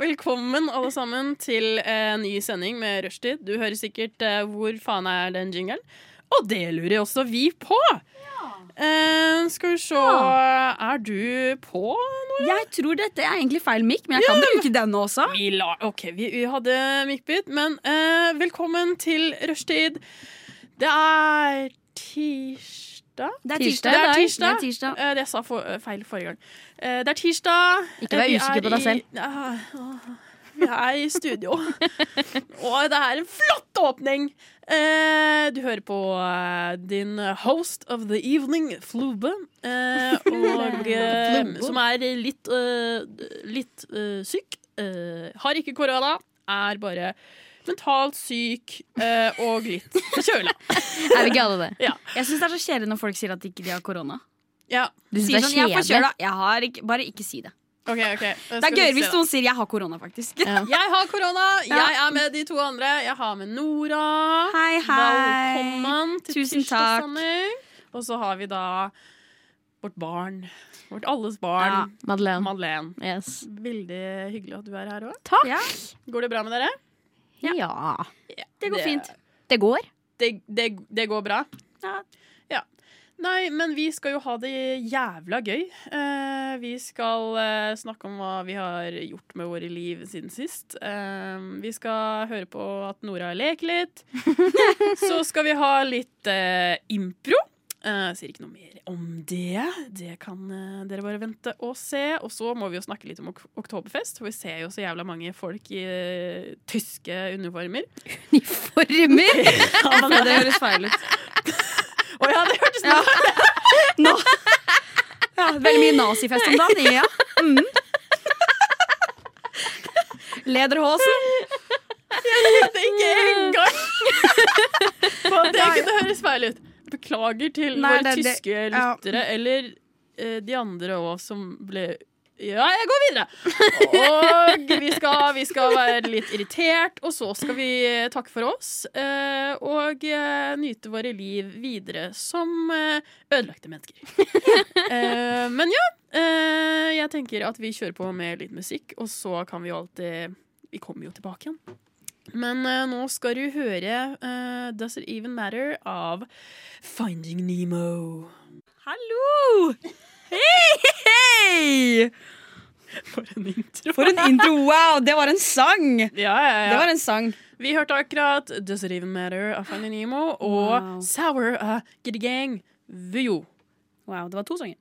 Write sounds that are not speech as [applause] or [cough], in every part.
Velkommen alle sammen til eh, ny sending med Rushtid. Du hører sikkert eh, hvor faen er den jingelen. Og det lurer jo også vi på! Eh, skal vi se Er du på? Jeg tror dette er egentlig feil mikk, men jeg kan bruke denne også. Vi la, ok, vi, vi hadde mikkbit, men eh, velkommen til rushtid. Det er tirsdag. Det er Det tirsdag. i er dag. tirsdag. Det er tirsdag. Eh, det jeg sa for, eh, feil forrige gang. Eh, det er tirsdag. Ikke vær Eh, vi usikker er på deg i- selv. Ja, åh, vi er [laughs] i studio, og det er en flott åpning! Eh, du hører på eh, din host of the evening, Flube, [laughs] eh, og, eh, Flube. som er litt, eh, litt eh, syk. eh, har ikke korona, er bare mentalt syk eh, og litt forkjøla. Er vi ikke alle det? Jeg syns det er så kjedelig når folk sier at ikke de har korona. Ja, Du Sier sånn, jeg er forkjøla. Jeg har ikke, bare ikke si det. OK. ok Jeg skal Det er gøyere se hvis da. noen sier 'jeg har korona', faktisk. Ja. [laughs] Jeg har korona, Ja. jeg er med de to andre. Jeg har med Nora. Hei, hei. Velkommen til Tusen takk. tirsdagssending. Og så har vi da vårt barn. Vårt alles barn. Madeleine. Madeleine. Yes. Veldig hyggelig at du er her òg. Takk. Ja, Går det bra med dere? Ja. det går fint. Det går. Det, det, det går bra? Ja. Ja. Nei, men vi skal jo ha det jævla gøy. Eh, vi skal eh, snakke om hva vi har gjort med våre liv siden sist. Eh, vi skal høre på at Nora leker litt. Så skal vi ha litt eh, impro. Eh, sier ikke noe mer om det. Det kan eh, dere bare vente og se. Og så må vi jo snakke litt om ok Oktoberfest, for vi ser jo så jævla mange folk i eh, tyske uniformer. Uniformer! Ja, men, Det høres feil ut. [laughs] Å ja, det hørtes Ja. Nå. Ja, veldig mye nazifest om dagen. Ja. Mm. [laughs] Lederhosen. Det er ikke engang! [laughs] Faen, Det kunne høres feil ut. Beklager til Nei, våre det er det- ja. tyske lyttere, eller eh, de andre òg som ble ja, jeg går videre! Og vi skal, vi skal være litt irritert, og så skal vi eh, takke for oss. eh, Og eh, nyte våre liv videre som eh, ødelagte mennesker. Eh, Men ja, eh, jeg tenker at vi kjører på med litt musikk, og så kan vi jo alltid Vi kommer jo tilbake igjen. Men eh, nå skal du høre eh, Does It Even Matter av Finding Nemo. Hallo! Hei, hei! [laughs] For en intro. For en intro. Wow, det var en sang. [laughs] Ja, ja, ja. Det var en sang. Vi hørte akkurat Does It Even Matter av Finding Nemo og Wow. Sour av Giddy Gang. Vujo. Wow, det var to sanger.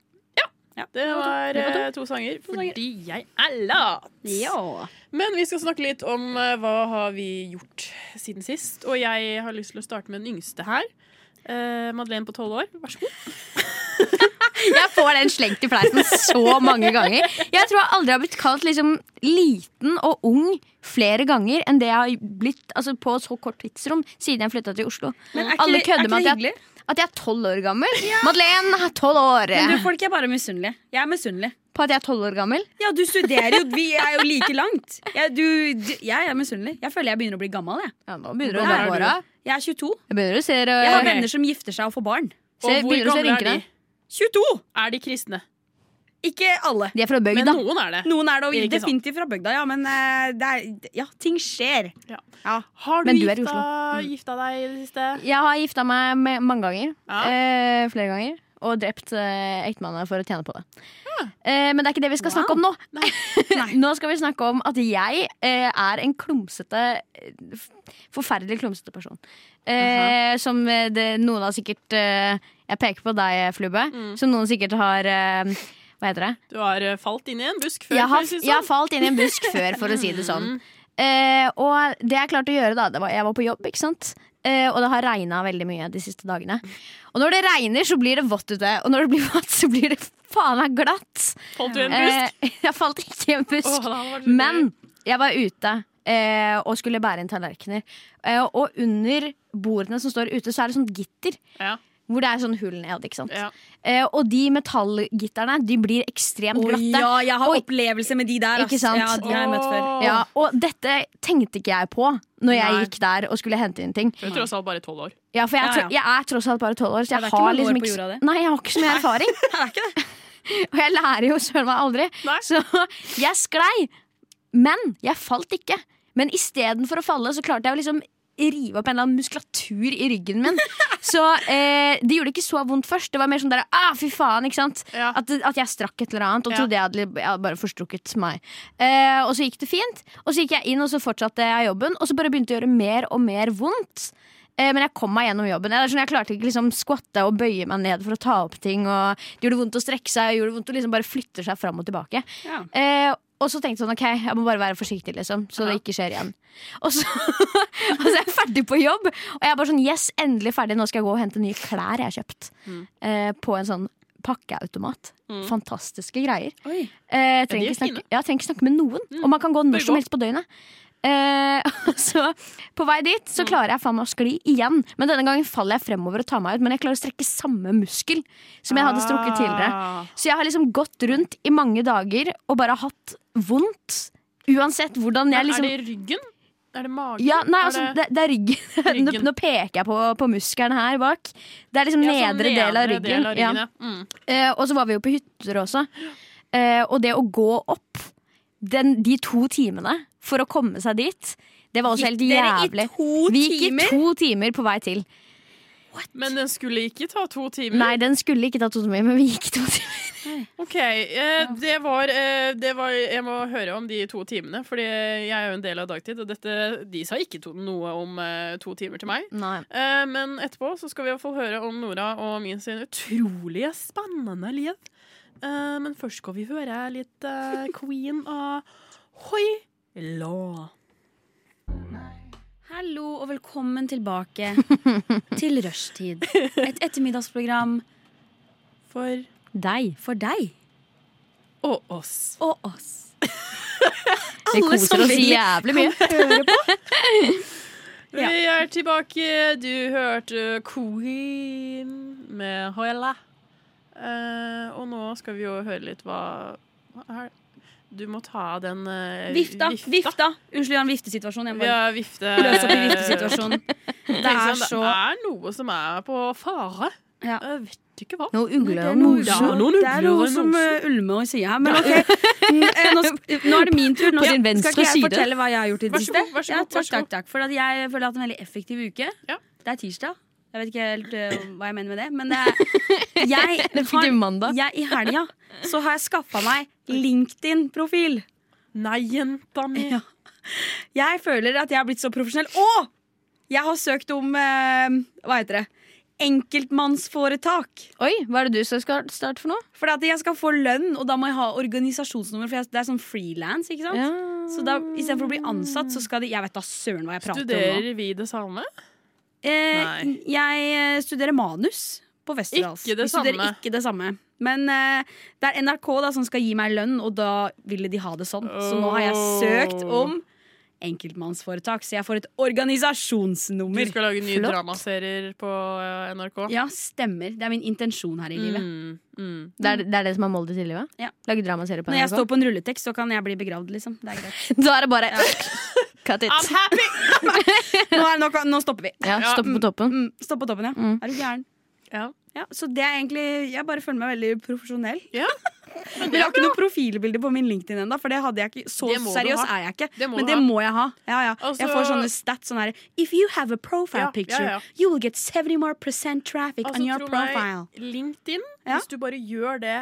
Det var det var to. eh, to sanger, To sanger. fordi jeg er lat. Men vi skal snakke litt om eh, hva har vi gjort siden sist. Og jeg har lyst til å starte med den yngste her. Eh, Madeleine på tolv år, vær så god. Jeg får den slengt i fleisen så mange ganger. Jeg tror jeg aldri har blitt kalt liksom, liten og ung flere ganger enn det jeg har blitt altså, på så kort tidsrom siden jeg flytta til Oslo. Alle kødder med at jeg, at jeg er tolv år gammel. Madeleine er tolv år. Men du, folk er bare misunnelige. Jeg er misunnelig. På at jeg er tolv år gammel. Ja, du studerer jo. Vi er jo like langt. Jeg, du, du, jeg er misunnelig. Jeg føler jeg begynner å bli gammel. Jeg, Ja, nå begynner du Hvor å gammel nærme er du? åra. jeg er 22. Jeg begynner å se, eh, Jeg har Ok. venner som gifter seg og får barn. se, Og hvor begynner å se gamle er de? rynkene. 22! Er de kristne? Ikke alle. De er fra Men bygda. noen er det. Noen er det, og Ikke sant. definitivt fra bygda, ja, men eh, det er, ja, ting skjer. Ja. Ja. Har du, Men du er i gifta, Oslo. gifta deg i det siste? Jeg har gifta meg med, mange ganger. Ja. Eh, flere ganger. Og drept eh, ektemannen for å tjene på det. Eh, men det er ikke det vi skal Wow. snakke om nå. Ah. [laughs] Nei. nå skal vi snakke om at jeg eh, er en klumsete eh, f- Forferdelig klumsete person. Eh, Som eh, det, noen har sikkert eh, Jeg peker på deg, Flubbe. Mm. Som noen sikkert har eh, Hva heter det? Du har eh, falt inn i en busk før? for jeg, å har, si det jeg sånn. har Mm. falt inn i en [laughs] busk før, for å si det sånn. Eh, og det jeg klarte å gjøre, da det var, Jeg var på jobb, ikke sant? Eh, og det har regna veldig mye de siste dagene. Og når det regner, så blir det vått ute. Og når det blir vått, så blir det faen meg glatt. Falt du i en busk? Eh, [laughs] jeg falt ikke i en busk. Åh, det hadde vært så gøy. Men jeg var ute eh, og skulle bære inn tallerkener. Eh, og under bordene som står ute, så er det sånt gitter. ja, Hvor det er sånn hull ned. ikke sant? ja. Eh, og de metallgitterne de blir ekstremt Oi, glatte. ja, jeg har Oi. opplevelser med de der. ass. Ikke sant? Ja, de har jeg møtt før. Åh. Ja, og dette tenkte ikke jeg på når jeg Nei. gikk der og skulle hente inn ting. Du er tross alt bare tolv år. Ja, for jeg, Ja, ja. tro- jeg er tross alt bare tolv år, så Ja, jeg, det er ikke har mange år liksom på ikke, jorda, det. s- Nei, jeg har ikke så mye [laughs] erfaring. [laughs] Det er ikke det. og jeg lærer jo søren meg aldri. Nei. Så jeg sklei Men jeg falt ikke. Men istedenfor å falle, så klarte jeg å liksom rive opp en eller annen muskulatur i [laughs] ryggen min. Så eh, det gjorde ikke så vondt først. Det var mer sånn der, ah, fy faen, ikke sant? Ja. At, at jeg strakk et eller annet og Ja. trodde jeg hadde, jeg hadde bare forstrukket meg. Eh, og så gikk det fint, og så gikk jeg inn og så fortsatte jeg jobben. Og så bare begynte det å gjøre mer og mer vondt. Eh, men jeg kom meg gjennom jobben. Jeg, sånn, jeg klarte ikke liksom skvatte og bøye meg ned for å ta opp ting. Og det gjorde vondt å strekke seg, og det gjorde vondt å liksom bare flytte seg fram og tilbake. Ja. Eh, og så tenkte jeg sånn, ok, jeg må bare være forsiktig, liksom, så det ikke skjer igjen. Og så, [laughs] og så er jeg ferdig på jobb, og jeg er bare sånn yes, endelig ferdig. Nå skal jeg gå og hente nye klær jeg har kjøpt. Mm. Eh, på en sånn pakkeautomat. Fantastiske greier. Oi. de Eh, trenger er ikke snakke, fine. Mm. ja, trenger ikke snakke med noen, og man kan gå Bare når som gå. helst på døgnet. Eh, [laughs] og så På vei dit Mm. så klarer jeg faen meg å skli igjen, men denne gangen faller jeg fremover og tar meg ut. Men jeg klarer å strekke samme muskel som jeg hadde strukket tidligere. Ah. Så jeg har liksom gått rundt i mange dager og bare hatt vondt. Uansett hvordan jeg liksom Er det ryggen? Er det magen? ja, nei, Er altså, det, det, det er ryggen. [laughs] Nå, Ryggen. nå peker jeg på, på muskelen her bak. Det er liksom Ja, sånn nedre del av ryggen. Del av ja. ryggen ja. Mm. Eh, og så var vi jo på hytter også. Eh, og det å gå opp den, de to timene for å komme seg dit, det var også helt Gikk jævlig. dere i to Vi gikk i timer? to timer på vei til. Men den skulle ikke ta to timer. Mm. Nei, den skulle ikke ta to timer, men vi gikk to timer. Ok, eh, det, var, eh, det var Jeg må høre om de to timene, Fordi jeg er jo en del av dagtid, og dette, de sa ikke to, noe om eh, to timer til meg. Nei. Eh, men etterpå så skal vi i hvert fall høre om Nora og min sin utrolige spennende liv. Eh, men først skal vi høre litt eh, Queen av Hoi La. Hallo og velkommen [laughs] tilbake til Rushtid. Et ettermiddagsprogram For Deg. for deg og oss. og oss. Vi Alle som koser oss vil. jævlig mye. [laughs] [laughs] Vi er tilbake. Du hørte Queen med Hoi La. Eh, og nå skal vi jo høre litt hva, hva er det? Du må ta av den eh, Vifta. Vifta. Unnskyld, jeg har en viftesituasjon. Jeg må Vi har vifte. løse opp i [laughs] viftesituasjonen. Det Tenk er sånn, så Det er noe som er på fare. Ja. Jeg vet ikke hva. Noe ugle Ja, og morsomt. noen det er ugler og noe en som mose. eh, ulmer og sier her, men ok. [laughs] Mm, eh, Nå, s- nå er det min tur. Nå På din skal venstre ikke jeg side. fortelle hva jeg har gjort i Vær det så siste. god, vær så Ja, god, vær takk, så god. takk, takk. For at jeg føler jeg har hatt en veldig effektiv uke. Ja. Det er tirsdag. Jeg vet ikke helt eh, hva jeg mener med det, men det [laughs] er, jeg, Det fikk du mandag. jeg, i helga så har jeg skaffa meg LinkedIn-profil. Nei, jenta mi. Ja. Jeg føler at jeg har blitt så profesjonell. Og jeg har søkt om eh, hva heter det? enkeltmannsforetak. Oi, hva er det du som skal starte for noe? For at jeg skal få lønn, og da må jeg ha organisasjonsnummer. For jeg, det er sånn frilans, ikke sant? Så da, istedenfor å bli ansatt, så skal de Jeg vet da søren hva jeg prater om nå. Studerer vi det samme? Eh, Nei. jeg eh, studerer manus på Westerdals. Ikke det Vi studerer samme. Ikke det samme. Men eh, det er NRK da som skal gi meg lønn, og da ville de ha det sånn. Så nå har jeg søkt Oh. om enkeltmannsforetak, så jeg får et Du organisasjonsnummer. skal lage nye Flott. dramaserier på eh, NRK? Ja, stemmer. Det er min intensjon her i livet. Mm, mm. Det er det, er det som er målet ditt i livet? Ja. Lage dramaserie på Når jeg NRK? står på en rulletekst, så kan jeg bli begravd, liksom. Det er greit. [laughs] Da er det bare cut I'm it. happy! Nå, er, nå, kan- nå stopper vi. Ja, Ja, Stoppe på toppen. Mm, stopp på toppen, ja. Mm. Er du gæren? [laughs] Ja. Ja, så det er egentlig Jeg bare føler meg veldig profesjonell. Ja, Men [laughs] jeg har ikke noe profilbilde på min LinkedIn ennå, for det hadde jeg ikke. Så Det må du seriøs ha. er jeg ikke. Det må men du det ha. må jeg ha. Ja, ja. Altså- jeg får sånne stats sånn her If you have a profile Ja, ja, picture, ja. you will get 70 more percent traffic Altså, on your tro profile. meg, LinkedIn, Ja. hvis du bare gjør det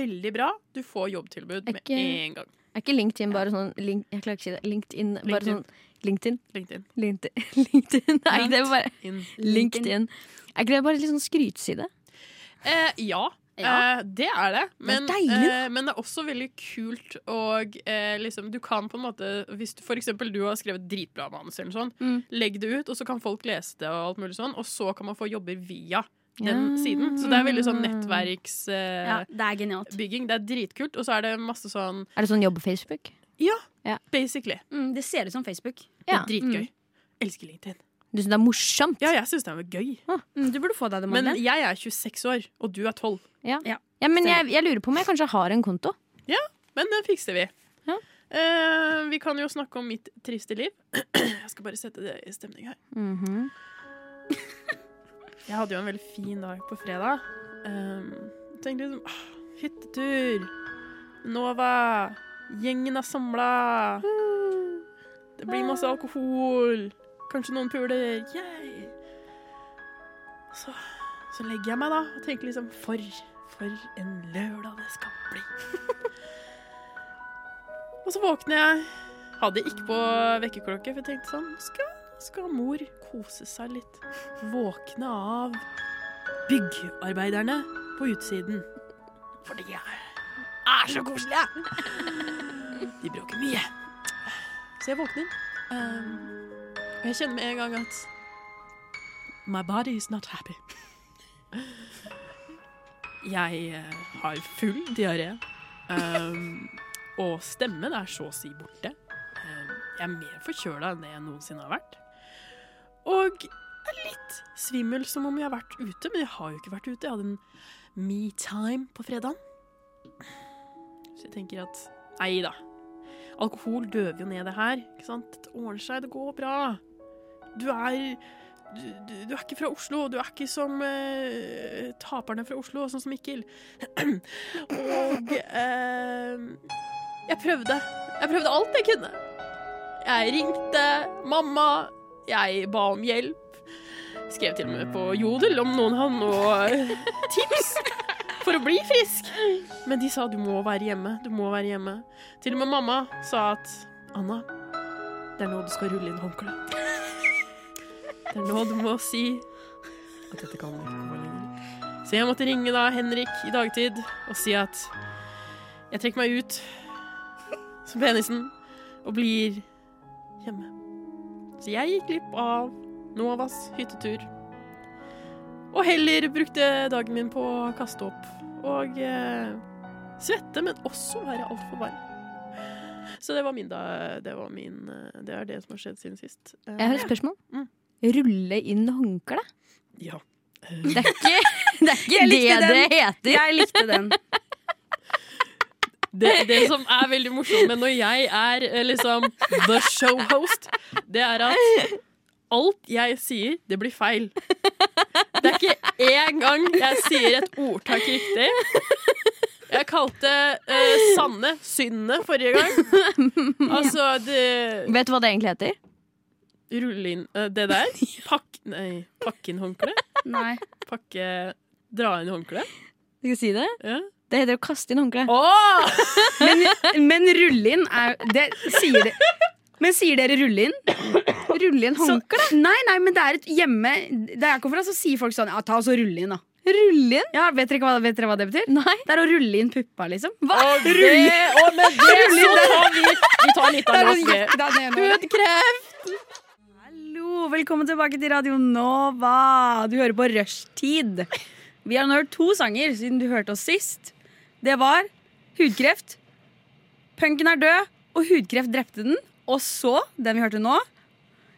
veldig bra, du får jobbtilbud med Ikke- en gang. Er ikke LinkedIn bare sånn link, Jeg klarer ikke å si det. LinkedIn. Bare LinkedIn. sånn LinkedIn. LinkedIn. LinkedIn. [laughs] LinkedIn. Er ikke det bare In. LinkedIn? Er ikke det bare litt sånn skrytside? Eh, ja. Ja. Eh, det er det. Men Det er deilig, da. eh, men det er også veldig kult og eh, liksom Du kan på en måte Hvis du, for eksempel du har skrevet dritbra manus eller sånn, Mm. legg det ut, og så kan folk lese det og alt mulig sånn, og så kan man få jobber via den Ja. siden. Så det er veldig sånn nettverks... Eh, Ja, det er genialt. Bygging, Det er dritkult, og så er det masse sånn Er det sånn jobb på Facebook? Ja, Ja. basically. Mm, det ser ut som Facebook. Det Ja. er dritgøy. Elsker LinkedIn. Du syns det er morsomt? Ja, jeg syns det er gøy. Mm, du burde få deg det, Men Madeleine. jeg er 26 år, og du er 12. Ja, men jeg, jeg lurer på om jeg kanskje har en konto. Men den fikser vi. Ja. Eh, vi kan jo snakke om mitt triste liv. [clears throat] Jeg skal bare sette det i stemning her. Mhm. Jeg hadde jo en veldig fin dag på fredag. Um, tenkte liksom ah, Hyttetur. Nova. Gjengen er samla. Det blir masse alkohol. Kanskje noen puler. Yay. Så, så legger jeg meg da og tenker liksom For, for en lørdag det skal bli. [laughs] og så våkner jeg. Hadde ikke på vekkerklokke, for jeg tenkte sånn Nå skal, nå skal mor kose seg litt. Våkne av byggarbeiderne på utsiden. For de er, er så koselige! De bråker mye. Så jeg våkner. Um, og jeg kjenner med en gang at My body is not happy. Jeg eh, har full diaré. Um, og stemmen er så å si borte. Um, jeg er mer forkjøla enn det jeg noensinne har vært. Og er litt svimmel, som om jeg har vært ute, men jeg har jo ikke vært ute. Jeg hadde en me-time på fredagen. Så jeg tenker at nei da. Alkohol døver jo ned det her. ikke sant? Det ordner seg, det går bra. Du er du, du, du er ikke fra Oslo, du er ikke som eh, taperne fra Oslo, sånn som Mikkel. [clears throat] Og eh, jeg prøvde. Jeg prøvde alt jeg kunne. Jeg ringte mamma, jeg ba om hjelp. Skrev til og med på Jodel om noen hadde noe tips for å bli frisk. Men de sa du må være hjemme, du må være hjemme. Til og med mamma sa at Anna, det er nå du skal rulle inn håndkleet. Det er nå du må si at dette kan ikke gå lenger. Så jeg måtte ringe da Henrik i dagtid og si at jeg trekker meg ut som penisen og blir hjemme. Så jeg gikk glipp av Novas hyttetur. Og heller brukte dagen min på å kaste opp og eh, svette, men også være altfor varm. Så det var min, da. Det, var min, eh, det er det som har skjedd siden sist. Eh, Jeg har et spørsmål. Mm. Rulle inn [laughs] håndkle? ja. Det er ikke det er ikke Jeg likte det, det heter. Jeg likte den. [laughs] Det, det som er veldig morsomt med når jeg er eh, liksom the show host, det er at alt jeg sier, det blir feil. Det er ikke én gang jeg sier et ordtak riktig. Jeg kalte eh, Sanne Synne forrige gang. Altså det Vet du hva det egentlig heter? Rulle inn eh, det der. Pakk Nei, pakke inn håndkle? Nei. Pakke Dra inn håndkle? Skal jeg si det? Ja. Det heter å kaste inn håndkle. Åh! Men, men rulle inn er det, sier det, Men sier dere rulle inn? Rulle inn Så, håndkle? nei, nei, men det er et hjemme Der jeg kommer fra, så sier folk sånn Ja, ta og så rulle inn, da. Rulle inn? Ja, vet dere, ikke hva, vet dere hva det betyr? Nei. Det er å rulle inn puppa, liksom. Og det, og med det så tar vi, vi tar litt av oss det. sånn Hudkreft! Hallo, velkommen tilbake til Radio Nova. Du hører på Rushtid. Vi har nå hørt to sanger siden du hørte oss sist. Det var Hudkreft, Punken er død og Hudkreft drepte den. Og så den vi hørte nå.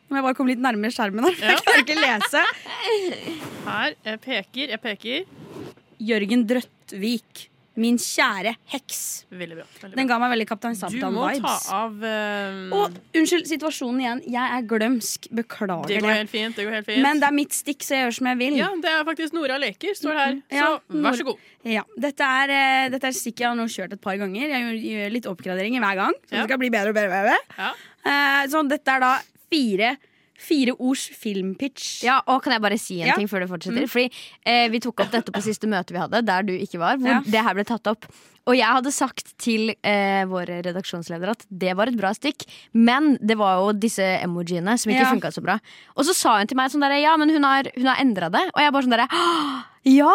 Nå må jeg bare komme litt nærmere skjermen. her, for Ja. Jeg klarer ikke lese. Her, jeg peker, jeg peker. Jørgen Drøttvik. Min kjære heks. Veldig bra. Veldig Den bra. ga meg veldig Kaptein Du må ta Sabeltann-vibes. av eh, Mm. Og unnskyld situasjonen igjen. Jeg er glømsk. Beklager Det det. går helt fint. det går helt fint. Men det er mitt stikk, så jeg gjør som jeg vil. ja, det er faktisk Nora leker, står det her. Så Mm-hmm. Ja, Nora. vær så god. Ja, dette, er, eh, dette er stikk jeg har nå kjørt et par ganger. Jeg gjør, gjør litt oppgraderinger hver gang. Så Ja. det skal bli bedre og bedre. og bedre. Ja. Eh, så dette er da fire, fire ords filmpitch. Ja, og Kan jeg bare si en Ja. Mm. ting før du fortsetter? Fordi eh, Vi tok opp dette på siste møte vi hadde, der du ikke var. Hvor Ja. det her ble tatt opp Og jeg hadde sagt til eh, våre redaksjonsledere at det var et bra stikk, men det var jo disse emojiene som ikke Ja. funka så bra. Og så sa hun til meg sånn derre Ja, men hun har, hun har endra det. Og jeg bare sånn derre «Åh, Ja!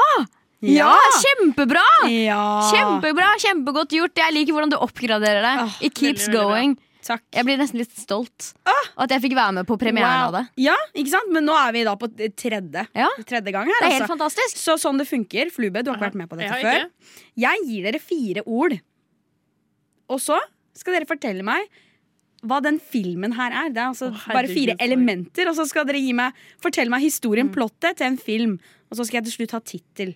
Ja! Ja! Kjempebra! Ja. Kjempebra! Kjempegodt gjort! Jeg liker hvordan du oppgraderer det. Åh, It veldig, keeps veldig bra. going. Takk. Jeg blir nesten litt stolt. Og at jeg fikk være med på premieren Wow. av det. Ja, ikke sant? Men nå er vi da på t- tredje, Ja. tredje gang her. Det er helt altså. fantastisk. Så sånn det funker. Flube, du har ikke vært med på Jeg dette har før. ikke. Jeg gir dere fire ord. Og så skal dere fortelle meg hva den filmen her er. Det er altså Å, herregud, Mm. bare fire for- elementer. Og så skal dere gi meg, fortelle meg historien, plottet, til en film. Og så skal jeg til slutt ha tittel.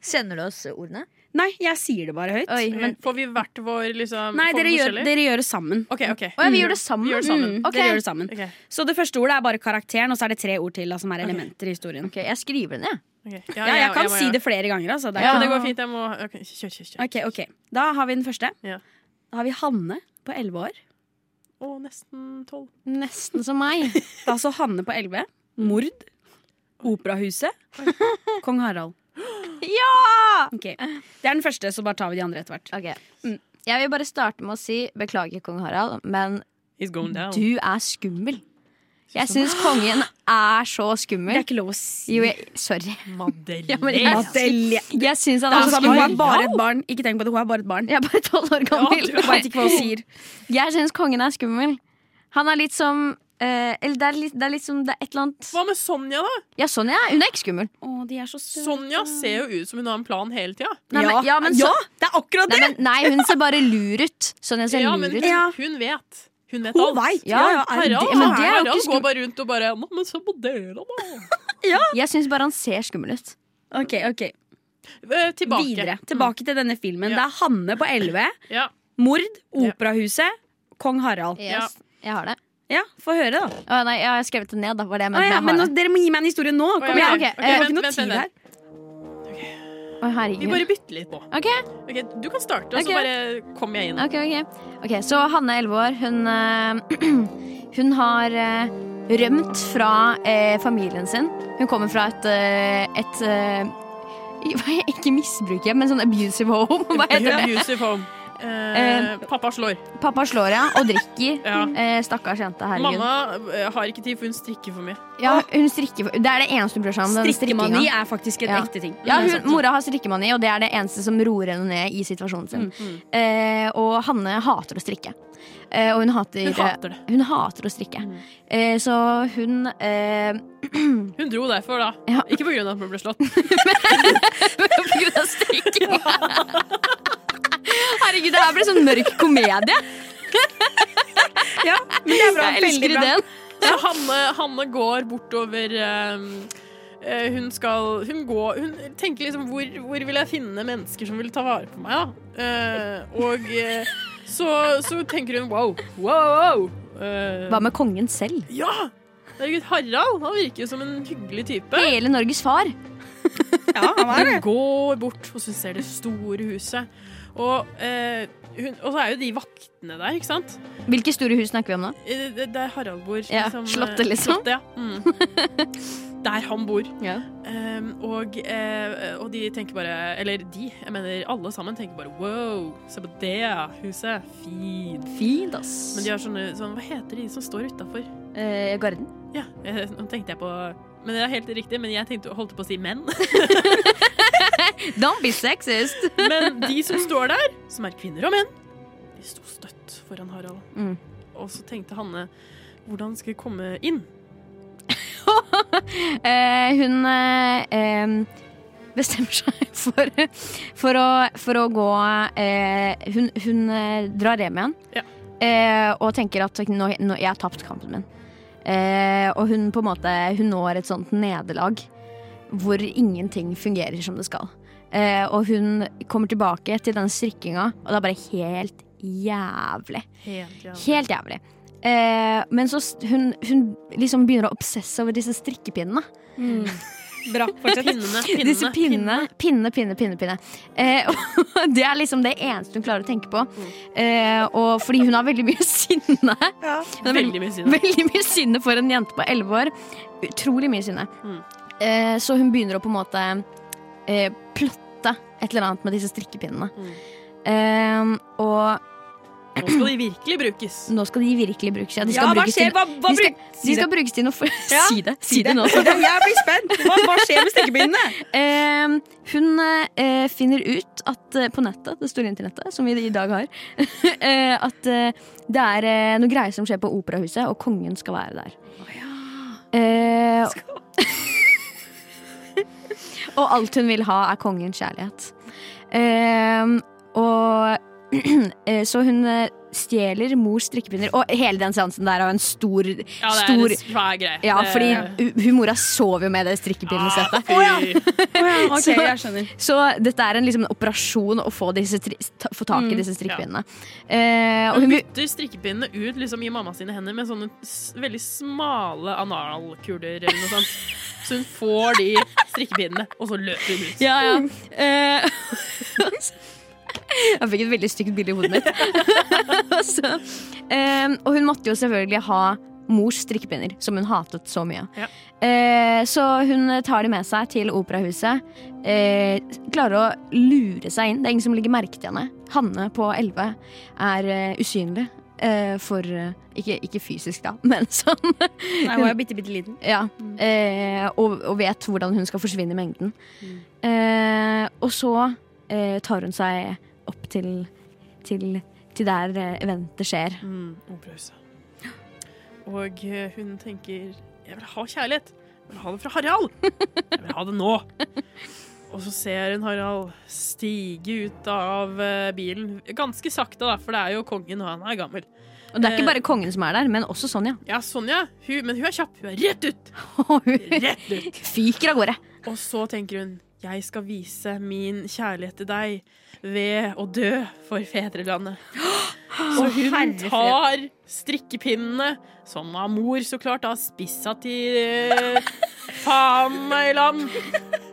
Sender du oss ordene? Nei, jeg sier det bare høyt. Oi, men Får vi hvert vår liksom Nei, får vi dere gjør, forskjellig? dere gjør det sammen. OK, OK. Å ja, vi gjør det sammen. Vi gjør det sammen. Mm, ok. Dere gjør det sammen. Ok, Så det første ordet er bare karakteren, og så er det tre ord til da, som er elementer i historien. Ok, jeg skriver det ned. ok. Ja, jeg må- kan må si gjøre det flere ganger. Altså. Det er Ja, ikke det noe- går fint. Jeg må ok, Kjør, kjør, kjør. Ok, ok. Da har vi den første. Ja. Da har vi Hanne på elleve år. og nesten tolv. Nesten som meg. Da så Altså Hanne på 11. Mord. Operahuset. Kong Harald. Ja! Det er den første, så bare tar vi de andre etter hvert. [laughs] Ok Mm. Jeg vil bare starte med å si beklager, kong Harald, men It's going down. du er skummel. Jeg syns kongen er så Det er skummel. ikke lov å si. Jo, jeg, sorry. Madeleine. Ja, men jeg- Madelia. Jeg syns han Det er er sånn, hun er skummel. bare et barn. Ikke tenk på det, hun er bare et barn. Jeg er bare tolv år gammel. Ja, du er- Hun vet ikke hva hun sier. Jeg syns kongen er skummel. Han er litt som eh, Eller det er litt, det er litt som det er et eller annet Hva med Sonja, da? Ja, sånn ja. Hun er ikke skummel. Å, de er så søte. Sonja ser jo ut som hun har en plan hele tida. Nei, men, ja, men, Sånn, så, Ja, det er akkurat nei, det! men, nei, hun ser bare lur ut. Sånn jeg ser Ja, men lur ut. Ja. hun vet. Hun vet Hun alt. veit. Ja, er det- Harald, men det er jo Harald ikke skum- går bare rundt og bare Nå, men se på dere, da. Jeg syns bare han ser skummel ut. Ok, ok. Eh, tilbake. Videre. Mm. Tilbake til denne filmen. Det Ja. er Hanne på 11. Ja. Mord. Operahuset. Kong Harald. Ja. Yes, Jeg har det. Ja, få høre, da. Å, nei, jeg har skrevet det ned, da. Var det jeg Å, mente. ja, Jeg men har nå, dere må gi meg en historie nå. Kom ja, igjen. ok, eh, Jeg har ok, Eh, ikke noe vent, tid vent, her. vent. det. Å, herregud. Vi bare bytter litt på. Ok, Ok, du kan starte, og Ok. så bare kommer jeg inn. ok, ok. Ok, Så Hanne, 11 år, hun eh, [clears throat] Hun har eh, rømt fra eh, familien sin. Hun kommer fra et, eh, et eh, [laughs] hva- Ikke misbruk hjem, men sånn abusive home. [laughs] Hva heter det? Abusive home. Eh, pappa slår. Pappa slår henne og drikker. Ja. Eh, stakkars jente. Herregud. Mamma eh, har ikke tid, for hun strikker for mye. Ja, hun strikker, for- det er det eneste hun bryr seg om. den Strikkemani strikkinga. er faktisk en Ja. ekte ting. Ja, Det er hun, sant. Mora har strikkemani, og det er det eneste som roer henne ned i situasjonen sin. Mm, Eh, og Hanne hater å strikke. Eh, og hun hater, Hun hater det. Mm. hun hater å strikke. Eh, så hun [laughs] eh, Hun dro derfor, da. Ja. Ikke på grunn av at hun ble [laughs] slått. På grunn av strikkinga. [laughs] Herregud, det her blir sånn mørk [laughs] komedie. ja, men det er bra. Jeg Veldig elsker bra. ideen. Så Hanne, Hanne går bortover ehm, eh, Hun skal Hun går Hun tenker liksom hvor, hvor vil jeg finne mennesker som vil ta vare på meg, da? Eh, og eh, så, så tenker hun wow, wow, wow. Eh, Hva med kongen selv? Ja! Herregud, Harald han virker jo som en hyggelig type. Hele Norges far. Ja, han var det. Hun går bort, og så ser det store huset. Og, eh, hun, og så er jo de vaktene der, ikke sant? Hvilke store hus snakker vi om nå? Eh, det- det- Der Harald bor. Ja, liksom, eh, slottet, liksom. Slottet, ja. Mm. [laughs] Der han bor. Um, og, eh, og de tenker bare Eller de, jeg mener alle sammen tenker bare wow, se på det huset. Fint. Fint, Men ass. de har sånne, sånn, Hva heter de som står utafor? Eh, garden. Ja, eh, nå tenkte jeg på Men det er helt riktig, men jeg tenkte, holdt på å si menn. [laughs] Don't be sexist. Men de som står der, som er kvinner og menn, de sto støtt foran Harald. Mm. Og så tenkte Hanne hvordan skal jeg komme inn? Eh, hun eh, em, bestemmer seg [laughs] for, for, å, for å gå eh, Hun, hun eh, drar hjem igjen Ja. eh, og tenker at nå, nå, jeg har tapt kampen min. Eh, og hun på en måte Hun når et sånt nederlag hvor ingenting fungerer som det skal. Eh, og hun kommer tilbake til den strikkinga, og det er bare helt jævlig. Helt jævlig. Helt jævlig. Eh, men så s- hun, hun liksom begynner å obsesse over disse strikkepinnene. [laughs] Bra. Fortsett. Pinnene, Disse pinnene. pinnene, pinne, pinne, pinne. pinne. Eh, [laughs] og det er liksom det eneste hun klarer å tenke på. Mm. Eh, og fordi hun har veldig mye sinne. [laughs] Hun har Veldig mye sinne. Veldig mye sinne for en jente på 11 år. Utrolig mye sinne. Mm. Eh, så hun begynner å på en måte eh, plotte et eller annet med disse strikkepinnene. Mm. Eh, og Nå skal de virkelig brukes. nå skal de virkelig brukes. Ja, de Ja, skal hva brukes skjer? til Hva, hva de skal, bruk- de Si skal det. brukes til noe for... Ja, [laughs] Si det. Si det nå. Jeg blir spent. [laughs] Hva, hva skjer med strikkepinnene? Eh, hun eh, finner ut at eh, på nettet, det store internettet som vi i dag har, [laughs] eh, at eh, det er eh, noe greier som skjer på Operahuset, og kongen skal være der. Eh, [laughs] og alt hun vil ha, er kongens kjærlighet. Eh, og [clears throat] eh, så hun eh, stjeler mors strikkepinner, og hele den seansen der er jo en stor, Ja, det er stor en svær greie. ja, Det- fordi hu- hun mora sover jo med det Ah, strikkepinnesettet. Fy. [laughs] Ok, Så- jeg skjønner. Så dette er en liksom, en operasjon å få, disse, tri- ta, få tak i disse strikkepinnene. Eh, Hun og hun vil bytter strikkepinnene ut liksom, i mamma sine hender med sånne s veldig smale analkuler eller noe sånt. Så hun får de strikkepinnene, og så løper hun ut. ja, ja. Eh, Jeg fikk et veldig stygt bilde i hodet mitt. [laughs] Og så, Altså, eh, og hun måtte jo selvfølgelig ha mors strikkepinner, som hun hatet så mye. Ja. Eh, så hun tar de med seg til operahuset. Eh, klarer å lure seg inn. Det er ingen som legger merke til henne. Hanne på 11 er eh, usynlig. eh, for eh, ikke, ikke fysisk, da, [laughs] men sånn Nei, hun er bitte, bitte liten. ja, eh, og, og vet hvordan hun skal forsvinne i mengden. Eh, og så eh, tar hun seg opp til, til, til der eh, eventet skjer. Mm, Operahuset. Og eh, hun tenker Jeg vil ha kjærlighet. Jeg vil ha det fra Harald. Jeg vil ha det nå. Og så ser hun Harald stige ut av eh, bilen. Ganske sakte, da, for det er jo kongen, og han er gammel. Og det er Eh. ikke bare kongen som er der, men også Sonja. [laughs] Ja, Sonja, hun, men hun er kjapp. Hun er rett ut! Og hun Rett ut. fyker av gårde. Og så tenker hun jeg skal vise min kjærlighet til deg ved å dø for [gasps] fedrelandet. Så hun herre tar strikkepinnene, som av mor så klart har spissa til eh, faen meg land,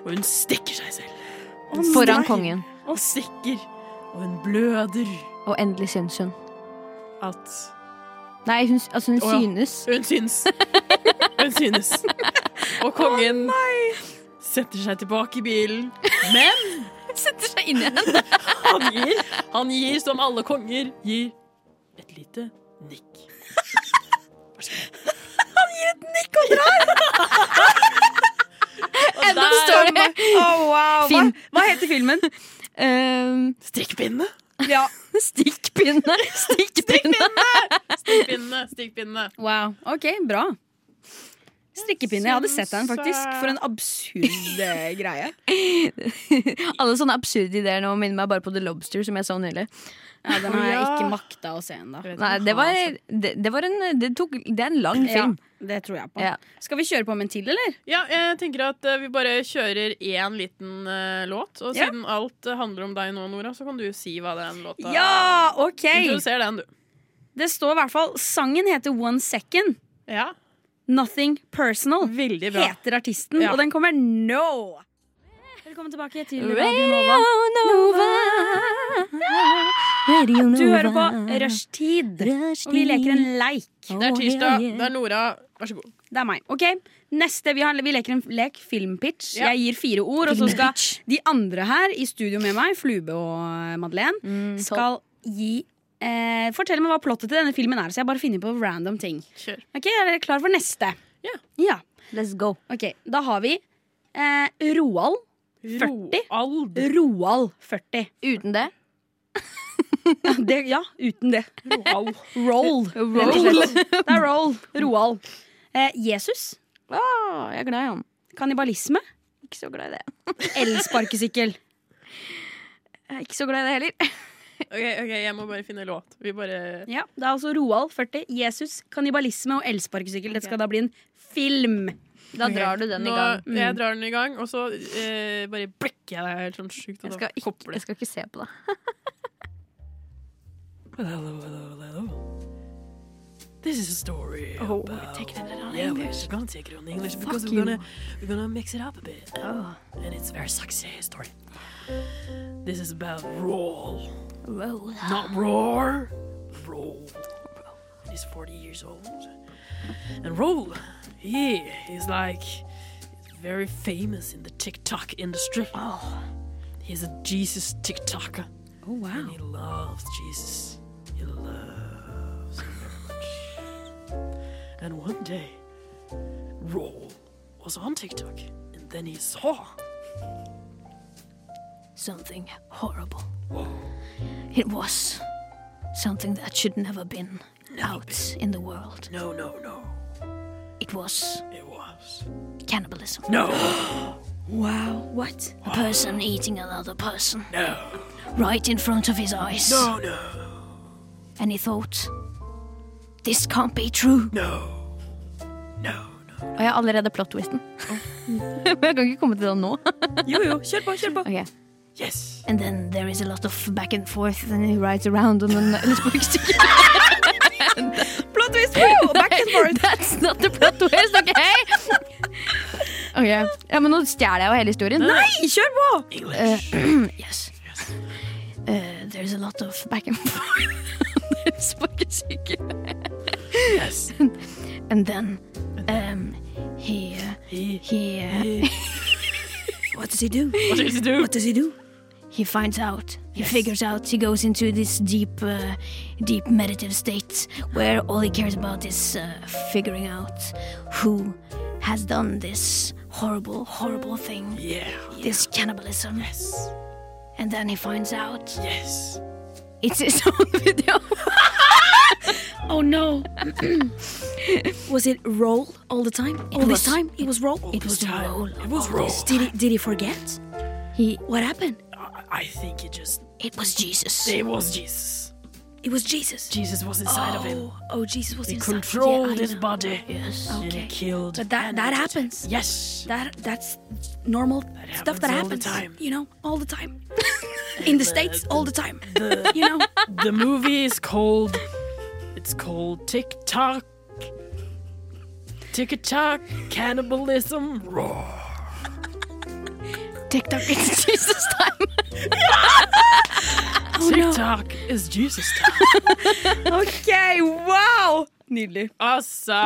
og hun stikker seg selv. Hun Foran stikker, kongen. Og stikker, og hun bløder Og endelig syns hun. at Nei, hun, s- altså hun Å, ja. synes. Hun syns. [laughs] Hun synes. Og kongen setter seg tilbake i bilen, men Setter seg inn i henne. Han gir, han gir som alle konger gir et lite nikk. Han gir et nikk og drar! Enda står det Oh, wow. Hva, Finn. hva heter filmen? [laughs] Ehm, Strikkpinnene! Ja. Stikkpinne! Stikkpinne! Strikkpinnene, strikkpinnene. Wow. Ok, bra. Strikkepinne. Jeg hadde sett den, faktisk. For en absurd eh, [laughs] greie. Alle sånne absurde ideer nå minner meg bare på The Lobster, som jeg så nylig. Ja, den har jeg Ja. ikke makta å se ennå. Jeg vet ikke om Nei, han det var, har sånn- sett- det, det var en det, tok, det er en lang Ja, film. det tror jeg på. Ja. Skal vi kjøre på med en til, eller? Ja, jeg tenker at eh, vi bare kjører én liten eh, låt. Og Ja. siden alt eh, handler om deg nå, Nora, så kan du si hva den låta Ja, ok! Introduser den, du. Det står i hvert fall Sangen heter One Second. Ja, Nothing Personal Veldig bra. heter artisten, Ja. og den kommer nå! Velkommen tilbake til Radio Radio Nova. Nova. Radio Nova. Du hører på Rushtid, og vi leker en leik. Det er tirsdag. Det er Nora. Vær så god. Det er meg. ok? Neste, Vi, har, vi leker en lek filmpitch. Ja. Jeg gir fire ord, og så skal de andre her i studio med meg, Flube og eh, Madeleine, Mm, skal gi eh, Fortell meg hva plottet til denne filmen er. Så jeg bare finner på random ting. Kjør. Ok, Er dere klar for neste? Ja. ja. Let's go. Ok, Da har vi eh, Roald. 40. Roald. Roald 40. Uten det [laughs] Det, ja, uten det. Roald. Roll. rett og Roll. slett. Det er roll. Roald. Eh, Jesus. Ah, jeg er glad i han. Kannibalisme. Ikke så glad i det. Elsparkesykkel. Jeg er ikke så glad i det heller. Ok, ok, jeg må bare finne låt. Vi bare Ja, Det er altså Roald 40, Jesus, kannibalisme og elsparkesykkel. Dette skal da bli en film. [laughs] Da Ok. drar du den Nå, i gang. Mm. Jeg drar den i gang, og så eh, bare blikker jeg deg helt sånn sjukt. og Jeg da skal, ikke, kopper det. jeg skal ikke se på det. This is a story. Oh, about- we're taking it on yeah, English. we're gonna take it on English because Fuck we're you. Oh. gonna we're gonna mix it up a bit, and it's a very sexy story. This is about roll, Roll. not roar, roll. He's forty years old, and roll, he is like very famous in the TikTok industry. He's a Jesus TikToker. Oh, wow. And he loves Jesus. He loves him very much. And one day, Roll was on TikTok, and then he saw. Something horrible. It was something that should never been out in the world. No, no, no. It was It was. cannibalism. No! [gasps] Wow, what? A person eating another person No! right in front of his eyes. No, no, And he thought This can't be true. no. No, no. Og jeg har allerede plot-twisten. Men [laughs] jeg kan ikke komme til den nå. Jo, jo, kjør på, kjør på. Ok. Yes! And then there is a lot of back and forth, and he rides around on an [laughs] elsparkesykkel. Plot twist, wow, back and forth. [laughs] That's not the plot twist, OK? Ok, ja, Men nå stjeler jeg jo hele historien. Uh. Nei, kjør på! English. Yes. Uh, There's a lot of back and [laughs] forth. There's folkesyke. Yes. And then um, he, uh, He, he, uh, he, what does he do? [laughs] what did you do? does he do? He finds out. He figures out. He goes into this deep, uh, deep meditative state where all he cares about is uh, figuring out who has done this horrible, horrible thing, Yeah. this cannibalism. Yes. And then he finds out Yes. it's his [laughs] own video. [laughs] Oh [clears throat] no. was it roll all the time? all was- this time? It was roll? It was a time. roll. It was roll. Did he, did he forget? He, What happened? I, I think it just. it was Jesus. It was Jesus. It was Jesus. Jesus was inside of him. Oh, oh Jesus was He inside. controlled Yeah, I his know. body. Yes. And he Okay. killed. But that and- that happens. Yes. That that's normal stuff that happens all the happens. time. You know, all the [laughs] time. In the states, all the time. [laughs] you know, The movie is called. It's called Tick Tock. Tick Tock Cannibalism Roar. Oh, [laughs] TikTok is Jesus [laughs] time. Oh, Tick Tock is Jesus time. OK, wow! Nydelig. Altså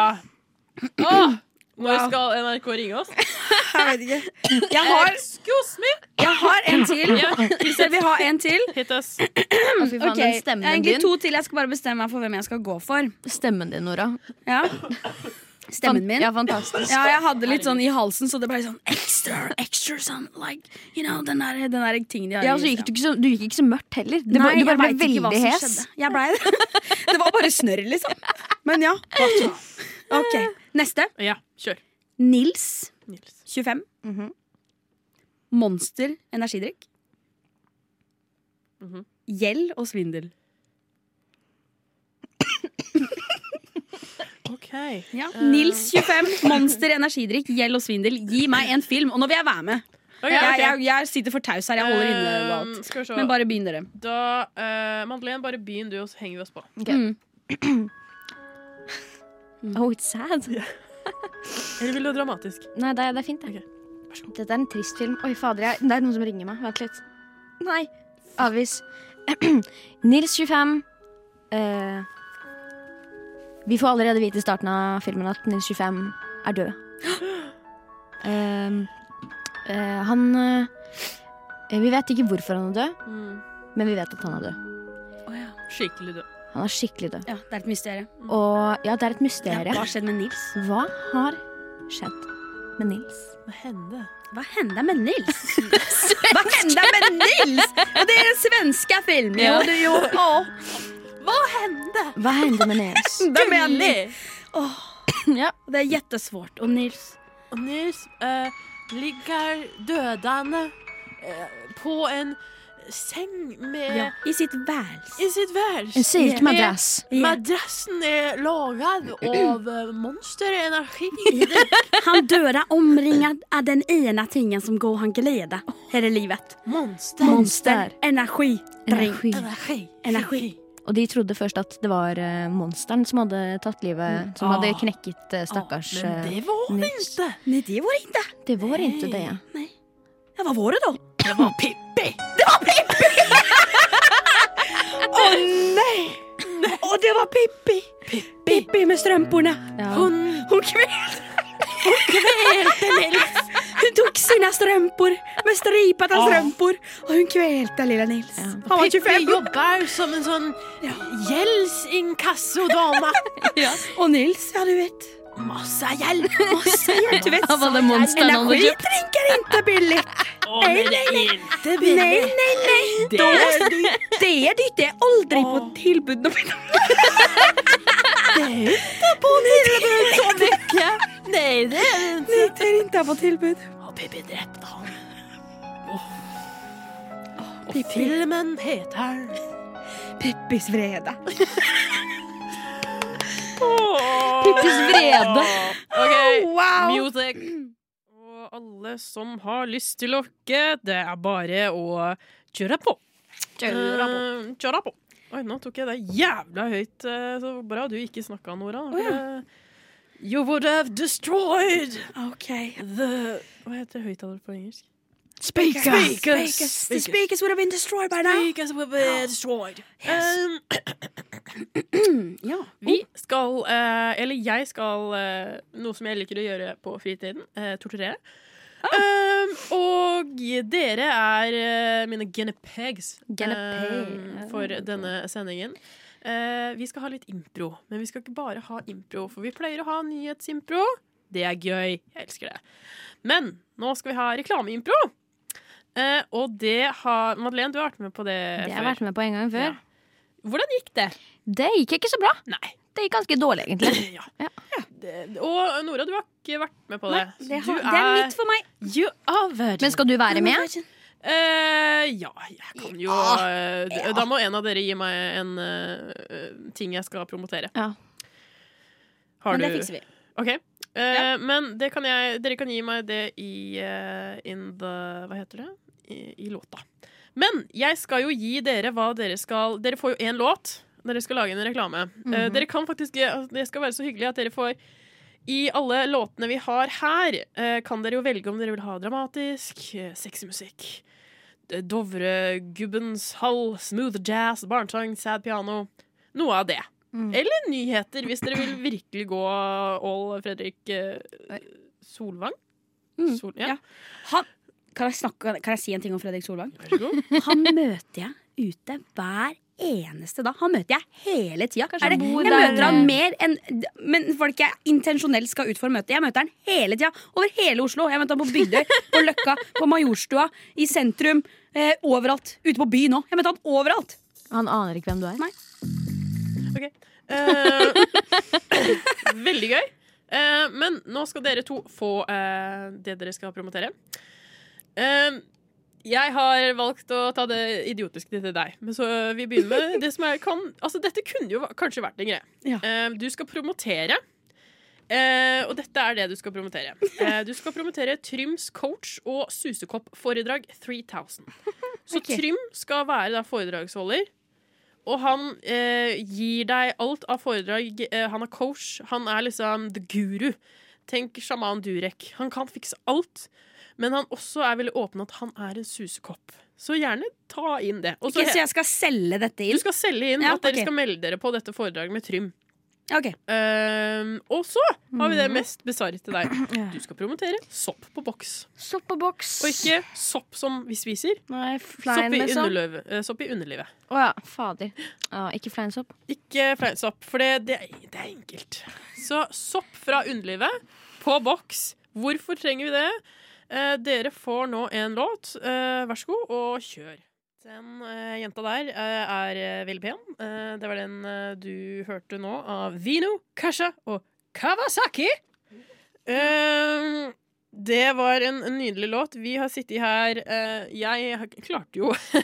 Når skal NRK ringe oss? Jeg vet ikke. Jeg har, Excuse me! jeg har en til. Hvis jeg vil ha en til. Hit us. Ok, Egentlig to til. Jeg skal bare bestemme meg for hvem jeg skal gå for. Stemmen din, Nora. Ja. Stemmen min. Ja, fantastisk. Ja, jeg hadde litt sånn i halsen, så det ble sånn ekstra, ekstra sånn like, You know, den der, den der tingen de har Ja, i og så gikk huset. du, ikke så, du gikk ikke så mørkt heller. Det, Nei, du bare jeg ble vet ikke hva veldig som hes. skjedde. Jeg blei det. [laughs] Det var bare snørr, liksom. Men ja. OK. Neste. Ja, kjør. Nils, Nils. 25. Mhm. Monster energidrikk. Mhm. Gjeld og svindel. OK. Ja. Eh, Nils 25, Monster energidrikk, gjeld og svindel. Gi meg en film, og nå vil jeg være med. Jeg, jeg, jeg sitter for taus her. Jeg holder inne med alt. Um, skal vi se. Men bare begynn, dere. Da eh, Madeleine, bare begynn du, og så henger vi oss på. Oh, it's sad. Eller vil du ha dramatisk? Nei, det er, det er fint, det. Ok, Dette er en trist film. Oi, fader, jeg, det er noen som ringer meg. Vent litt. Nei. Avvis. [clears throat] Nils 25. eh, vi får allerede vite i starten av filmen at Nils 25 er [gasps] død. Eh, eh, han eh, Vi vet ikke hvorfor han er død, Mm. men vi vet at han er død. Å, ja. Skikkelig død. Han er skikkelig død. Ja, det er et mysterium. Mm. Og ja, det er et mysterium. Ja, hva skjedde med Nils? Hva har skjedd med Nils? Hva hender? Hva hender med Nils? [laughs] Hva hender med Nils? Og det er den svenske filmen. Jo, det, jo. Å, Hva hände med [laughs] Nils? det med Nils. Det är jättesvårt. Och Nils... Og Nils eh, ligger dødende eh, på en seng med Ja. I sitt väls. I sitt værs. En silkmadrass. Ja. Madrassen er laget av eh, monsterenergi. Han döda omringad av den ena tingen som går han glida här i livet. [laughs] Monster. Monster. Energi. Energi. Energi. Energi. Energi. Og de trodde først at det var eh, monsteren som hadde tatt livet Som hadde Ah. knekket eh, stakkars Men eh, det var det Nils. ikke. Nej, det var det inte. Det var ikke det. Nej. Ja, vad var det då? Det var Pippi. Åh nej! Och det var Pippi! Pippi med strumporna. Ja. Hun Hon kväll. Hon kvälte Nils. Hon tog sina strumpor med stripade strumpor och hon kvälte lilla Nils. Han var Pippi 25 jobber som en sånn Ja. gjeldsinkassodame. och Nils, ja du vet. Masse gjeld. Masse hjälp. Du vet, sånn Han var det monsteren han hadde energi kjøpt. drinkar inte billigt. Å, men det er ikke Nej, billig. nej, nej. Det Då- är Det är dyrt, det är aldrig på Åh. tillbud. Det Det er ikke på tilbud så mye. Nei, det er det ikke. är inte på tillbud. Og Pippi drepte han. Åh. Og filmen heter Pippis vrede. Pippis vrede. OK, Wow! music. Og alle som har lyst til å lokke, det er bare å kjøre på. Eh, kjøre på. Oi, nå tok jeg det jævla høyt. eh, Så bra du ikke snakka, Nora. for det- You would have destroyed Okej. the Hva heter høyttaler på engelsk? Speak us. Speak us. us. The speakers would have been destroyed by now. Because we were destroyed. Um, Ja. Vi Mm. skal, eh, eller jeg skal, eh, noe som jeg liker å gjøre på fritiden, eh, torturere. Ah. Um, og dere er eh, mine guinea pigs Guinea um, pig. for denne sendingen. Eh, vi skal ha litt impro, men vi skal ikke bare ha impro, for vi pleier å ha nyhetsimpro. Det er gøy. Jeg elsker det. Men nå skal vi ha reklameimpro. Eh, og det har Madeleine, du har vært med på det, Det har jeg før. vært med på en gang før. Ja. Hvordan gikk det? Det gikk ikke så bra. Nei. Det gikk ganske dårlig, [clears throat] egentlig. Ja. Ja. Det- Og Nora, du har ikke vært med på det. Nei, det, du har, det er mitt for meg. You are virgin. Men skal du være med? Eh, ja, jeg kan jo Ja. eh, d- Da må en av dere gi meg en eh, eh, ting jeg skal promotere. Ja. Har Men du det fikser vi. OK. Eh, Ja. Men det kan jeg, dere kan gi meg det i eh, in the Hva heter det? I, I låta. Men jeg skal jo gi dere hva dere skal Dere får jo én låt. Dere skal lage en reklame. Eh, Dere kan faktisk altså, Det skal være så hyggelig at dere får i alle låtene vi har her, eh, kan dere jo velge om dere vil ha dramatisk, eh, sexy musikk, d- Dovre, Gubbens Hall, smooth jazz, barnesang, sad piano. Noe av det. Mm. Eller nyheter, hvis dere vil virkelig gå all Fredrik eh, Oi. Solvang. Mm, Sol, ja. ja. Han, kan, jeg snakke, kan jeg si en ting om Fredrik [laughs] Solvang? Vær så god. Han møter jeg ute hver eneste dag. Han møter jeg hele tida. Kanskje Er det- han bor Jeg der, møter han eh. mer enn Men folk jeg intensjonelt skal ut for å møte. Jeg møter han hele tida. Over hele Oslo. Jeg møter han på Bygdøy, på Løkka, på Majorstua, i sentrum. Eh, overalt. Ute på byen òg. Jeg møtte han overalt. Han aner ikke hvem du er. Nei. Ok. Eh, [laughs] veldig gøy. Eh, men nå skal dere to få eh, det dere skal promotere. Eh, jeg har valgt å ta det idiotiske til deg. Men så eh, vi begynner med det som jeg kan Altså, dette kunne jo va- kanskje vært en greie. Ja. Eh, du skal promotere. eh, og dette er det du skal promotere. Eh, du skal promotere Tryms coach og susekopp-foredrag 3000. [laughs] Så Ok. Trym skal være da foredragsholder. Og han eh, gir deg alt av foredrag. Eh, han er coach. Han er liksom the guru. Tenk sjaman Durek. Han kan fikse alt. Men han også er veldig åpen at han er en susekopp. Så gjerne ta inn det. Og så Ok, så jeg skal selge dette du inn? skal selge inn Ja, at dere ok. skal melde dere på dette foredraget med Trym. Ok. Mm. Ehm, og så har vi det mest bisarre til deg. Du skal promotere sopp på boks. Sopp og boks. Og ikke sopp som vi spiser. Nei, Sopp flein i, med liksom. sopp. underløv, eh, sopp i underlivet. Å ja, fader. Ja, ikke fleinsopp. Ikke fleinsopp, for det, det, er- det er enkelt. Så sopp fra underlivet på boks. Hvorfor trenger vi det? Eh, dere får nå en låt. Eh, vær så god, og kjør. Den eh, jenta der eh, er eh, veldig pen. Eh, det var den eh, du hørte nå av Vino, Kasha og Kawasaki. Eh, det var en en nydelig låt. Vi har sittet her eh, Jeg har- klarte jo [laughs] å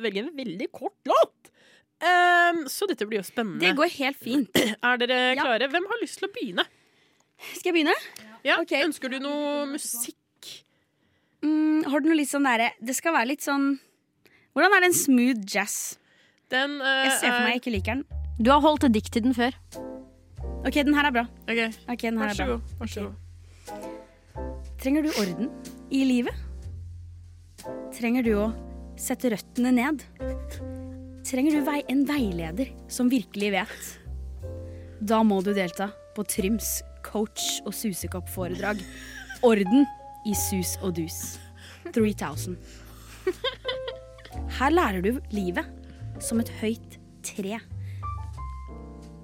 velge en veldig kort låt. Ehm, så dette blir jo spennende. Det går helt fint. Er dere Ja. klare? Hvem har lyst til å begynne? Skal jeg begynne? Ja, Ok. Ønsker du noe musikk? Mm, har du noe litt sånn derre Det skal være litt sånn Hvordan er den smooth jazz? Den eh, Jeg ser for meg er jeg ikke liker den. Du har holdt et dikt til den før. [laughs] Ok, den her er bra. Ok, Ok, den her Vær er så bra. god. Vær så god. Trenger du orden i livet? Trenger du å sette røttene ned? Trenger du vei en veileder som virkelig vet? Da må du delta på Tryms coach- og susekopp-foredrag. Orden i sus og dus. 3000. Her lærer du livet som et høyt tre.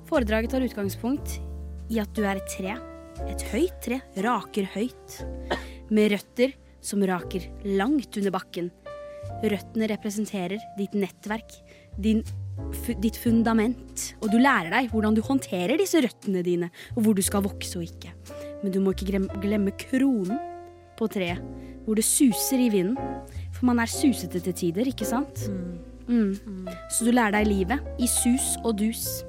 Foredraget tar utgangspunkt i at du er et tre. Et høyt tre raker høyt. Med røtter som raker langt under bakken. Røttene representerer ditt nettverk, din, fu, ditt fundament. Og du lærer deg hvordan du håndterer disse røttene dine, og hvor du skal vokse og ikke. Men du må ikke glem- glemme kronen på treet, hvor det suser i vinden. For man er susete til tider, ikke sant? Mm. Så du lærer deg livet i sus og dus.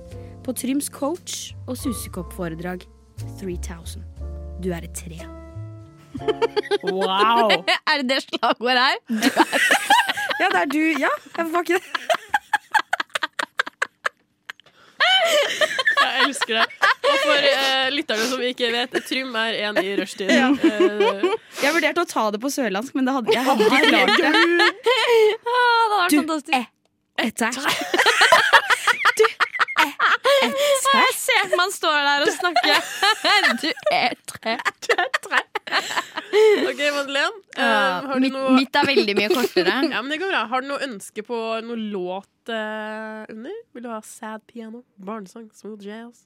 På Tryms coach og susekoppforedrag 3000. Du er et tre. Wow! Er det det slagordet her? Ja, det er du. Ja, jeg får ikke det. Jeg elsker det. Og for eh, lytterne som ikke vet, Trym er en i rushtid. Ja. Eh, Jeg vurderte å ta det på sørlandsk, men det hadde, jeg hadde ikke klart det. det hadde vært Du, fantastisk. Etter. ser man står der og snakker. [laughs] Eh, Du er tre. OK, Madeleine. eh, har du mitt, noe mitt er veldig mye [laughs] kortere. Ja, men det går bra. Har du noe ønske på noe låt eh, under? Vil du ha sad piano, barnesang, smooth jazz,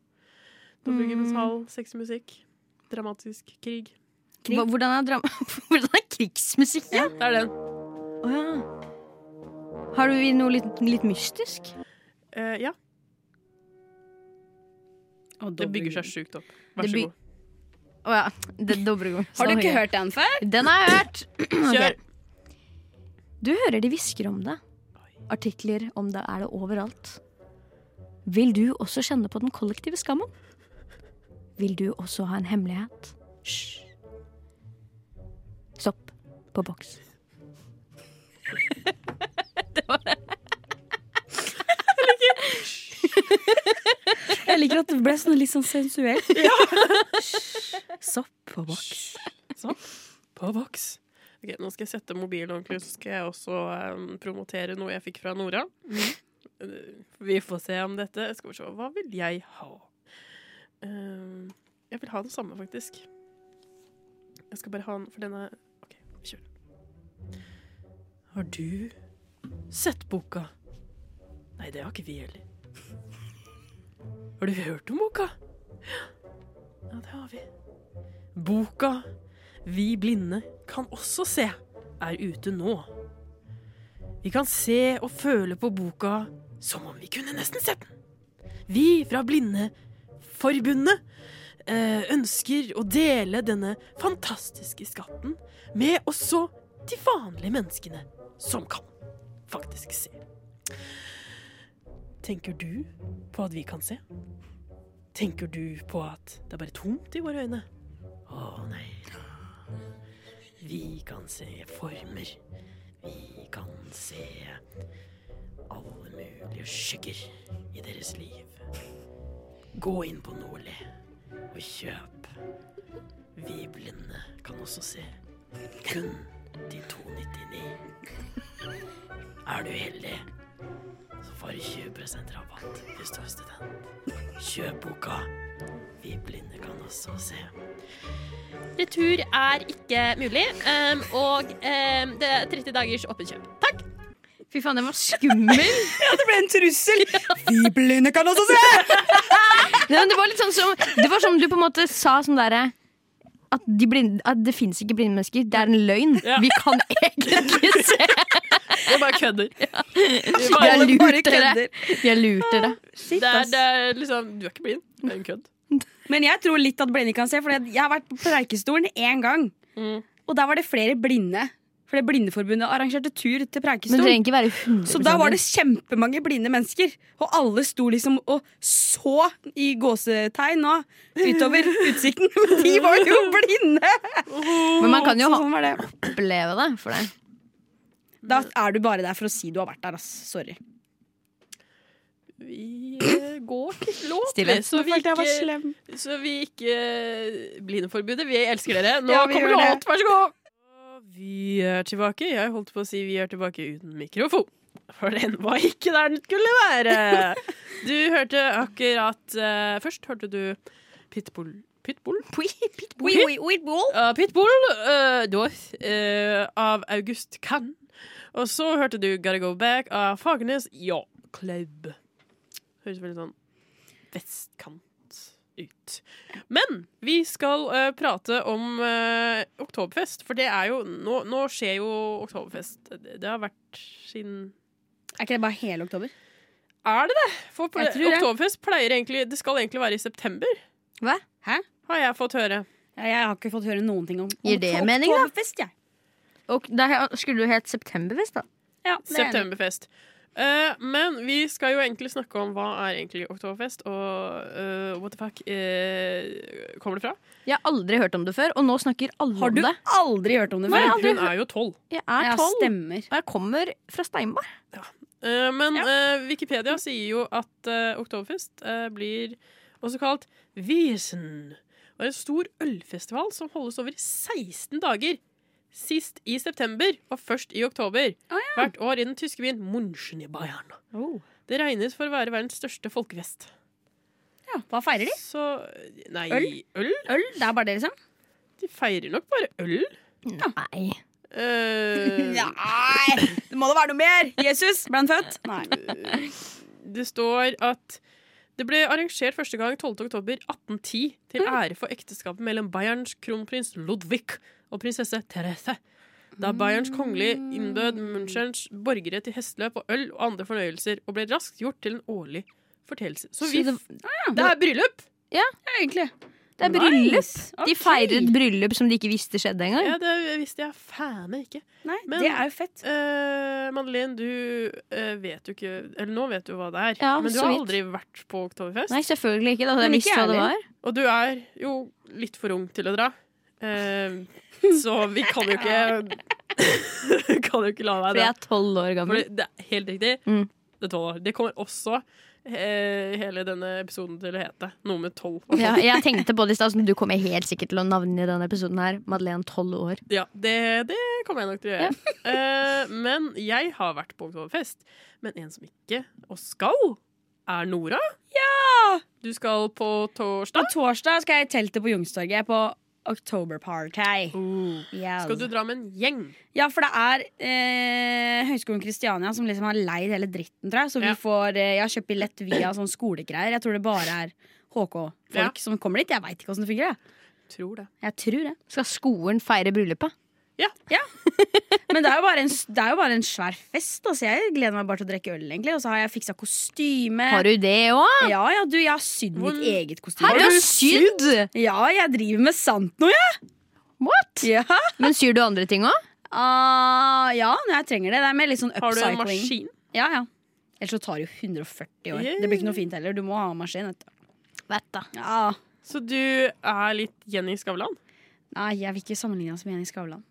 Mm. dobbeltgymnasal, sexy musikk, dramatisk krig? Krig. Hva- Hvordan er, dram [laughs] Hvordan er krigsmusikken? Det er den. Å, ja. Har du noe litt, litt mystisk? Eh, ja, det bygger seg sjukt opp. Vær Det så by- god. Å ja. Det er Dovregon. Har du Sorry. ikke hørt den før? Den har jeg hørt. [clears throat] Kjør! Du hører de hvisker om det. Artikler om det er det overalt. Vil du også kjenne på den kollektive skammen? Vil du også ha en hemmelighet? Hysj. Stopp på boks. Jeg liker at det ble sånn litt sånn sensuelt. Sopp og bak. [laughs] Sånn. På voks. Ok, nå skal jeg sette mobilen ordentlig, så skal jeg også eh, promotere noe jeg fikk fra Nora. Eh, Vi får se om dette Skal vi se. Hva vil jeg ha? Eh, jeg vil ha det samme, faktisk. Jeg skal bare ha den for denne OK, vi kjører. Har du sett boka? Nei, det har ikke vi heller. Har du hørt om boka? Ja, det har vi. Boka vi blinde kan også se, er ute nå. Vi kan se og føle på boka som om vi kunne nesten sett den. Vi fra Blindeforbundet eh, ønsker å dele denne fantastiske skatten med også de vanlige menneskene som kan faktisk se. Tenker du på at vi kan se? Tenker du på at det er bare tomt i våre øyne? Å nei. Vi kan se former. Vi kan se alle mulige skygger i deres liv. Gå inn på Nordli og kjøp. Vi blinde kan også se. Kun til 299. Er du heldig, så får du 20 rabatt hvis du er student. Kjøp boka. Vi blinde kan også se. Retur er ikke mulig, um, og um, det er 30 dagers åpent kjøp. Takk! Fy faen, den var [laughs] skummel! Det ble en trussel! Vi blinde kan også se! Nei, men det var litt sånn som Det var som du på en måte sa sånn derre at, de blinde- at det fins ikke blinde mennesker. Det er en løgn. Ja. Vi kan egentlig se. Det er bare kødder. Vi er lurtere. Vi er lurtere. Shit, Det er, ass. det er liksom, du er ikke blind, det er en kødd. Men jeg tror litt at blinde kan se, for jeg har vært på Preikestolen én gang. Mm. Og der var det flere blinde. For det Blindeforbundet arrangerte tur til Men det Preikestolen. trenger ikke være 100 Så da var det kjempemange blinde mennesker, og alle sto liksom og så i gåsetegn nå [laughs] utover utsikten. Men de var jo blinde! Men man kan jo Så ha sånn var det. oppleve det for deg. Da er du bare der for å si du har vært der, ass. Sorry. Vi eh, går til [laughs] låt, vi, Stillhet. så vi ikke, slem. så vi ikke eh, Blindeforbudet, vi elsker dere. Nå Ja, vi kommer gjør det. låt, vær så god! Vi er tilbake. Jeg holdt på å si vi er tilbake uten mikrofon. For den var ikke der den skulle [laughs] være. Du hørte akkurat eh, Først hørte du Pitbull Pitbull? Oi, oi, oi, bol. Uh, Pitbull uh, Dorth eh, av August Cannes. Og så hørte du Gotta Go Back av Fagernes Ja Club. Høres veldig sånn vestkant ut. Men vi skal eh, prate om eh, Oktoberfest, for det er jo Nå, nå skjer jo Oktoberfest. Det, det har vært siden Er ikke det bare hele oktober? Er det det? For ple- Jeg tror det. Oktoberfest pleier egentlig Det skal egentlig være i september, Hva? har jeg fått høre. Ja, Jeg har ikke fått høre noen ting om Gir det om mening, da? oktoberfest, jeg. Og da skulle du hett Septemberfest, da. Ja, det er enig. Septemberfest. Eh, men vi skal jo egentlig snakke om hva er egentlig oktoberfest, og eh, what the fuck eh, kommer det fra? Jeg har aldri hørt om det før, og nå snakker alle Har du om det. aldri hørt om det Men før? aldri hun er jo tolv. Jeg er Ja, tolv, stemmer. og jeg kommer fra Steinberg. Eh, men Ja. eh, Wikipedia sier jo at eh, oktoberfest eh, blir også kalt Wiesen, og er en stor ølfestival som holdes over 16 dager. Sist i september og først i oktober. Hvert år i den tyske byen München i Bayern. Oh. Det regnes for å være verdens største folkefest. Ja, Hva feirer de? Så Nei, øl? Øl? Øl? Det er bare det, liksom? De feirer nok bare øl. Nei. [laughs] Eh, Nei! Det må da være noe mer! Jesus, ble han født? Nei. det står at det ble arrangert første gang 12. oktober 1810 til ære for ekteskapet mellom Bayerns kronprins Ludvig og prinsesse Therese. Da Bayerns kongelige innbød Münchens borgere til hesteløp og øl og andre fornøyelser, og ble raskt gjort til en årlig fortelse. Så vi, Så det, det, er bryllup! Ja, egentlig. det er bryllup. Nice. De Ok. feirer et bryllup som de ikke visste skjedde engang. Ja, det visste jeg faen meg ikke. Nei, Men- det er jo fett. Uh, Madeleine, du eh, vet jo ikke Eller nå vet du hva det er, Ja, men du så har vidt. aldri vært på Oktoberfest. Nei, selvfølgelig ikke. Da hadde Men jeg ikke visst hva jeg det var. Og du er jo litt for ung til å dra. [laughs] Eh, så vi kan jo ikke [laughs] Kan jo ikke la deg For jeg det. er tolv år gammel. Fordi det er helt riktig. Mm. Det er 12 år. Det kommer også eh, hele denne episoden til å hete noe med tolv. [laughs] Ja, jeg tenkte på det i stad, så du kommer helt sikkert til å navne i denne episoden her. Madeleine, tolv år. Ja, det, det kommer jeg nok til å gjøre. [laughs] Eh, men jeg har vært på oktoberfest. Men en som ikke, og skal, er Nora. Du skal på På torsdag. torsdag skal jeg i teltet på Youngstorget. Jeg er på Oktoberparty. Yeah. Skal du dra med en gjeng? Ja, for det er eh, Høgskolen Kristiania som liksom har leid hele dritten, tror jeg. Så vi Ja. får eh, Jeg har kjøpt billett via sånn skolegreier. Jeg tror det bare er HK-folk Ja. som kommer dit. Jeg veit ikke åssen det fungerer. jeg. Tror det. Jeg tror det. Skal skolen feire bryllupet? Men det er jo bare en, det er jo bare en svær fest. Altså. Jeg gleder meg bare til å drikke øl, egentlig. Og så har jeg fiksa kostyme. Har du det òg? Ja, ja, du, jeg har sydd Hvor- mitt eget kostyme. Har du sydd? Ja, jeg driver med sant nå, jeg. What? Ja. Men syr du andre ting òg? Ah, ja, når jeg trenger det. Det er mer litt sånn Har du upcycling. en maskin? Ja, ja. Ellers så tar det jo 140 år. Yeah. Det blir ikke noe fint heller. Du må ha maskin. Vet du. Vet da. Ja. Så du er litt Jenny Skavlan? Nei, jeg vil ikke sammenligne oss med Jenny Skavlan.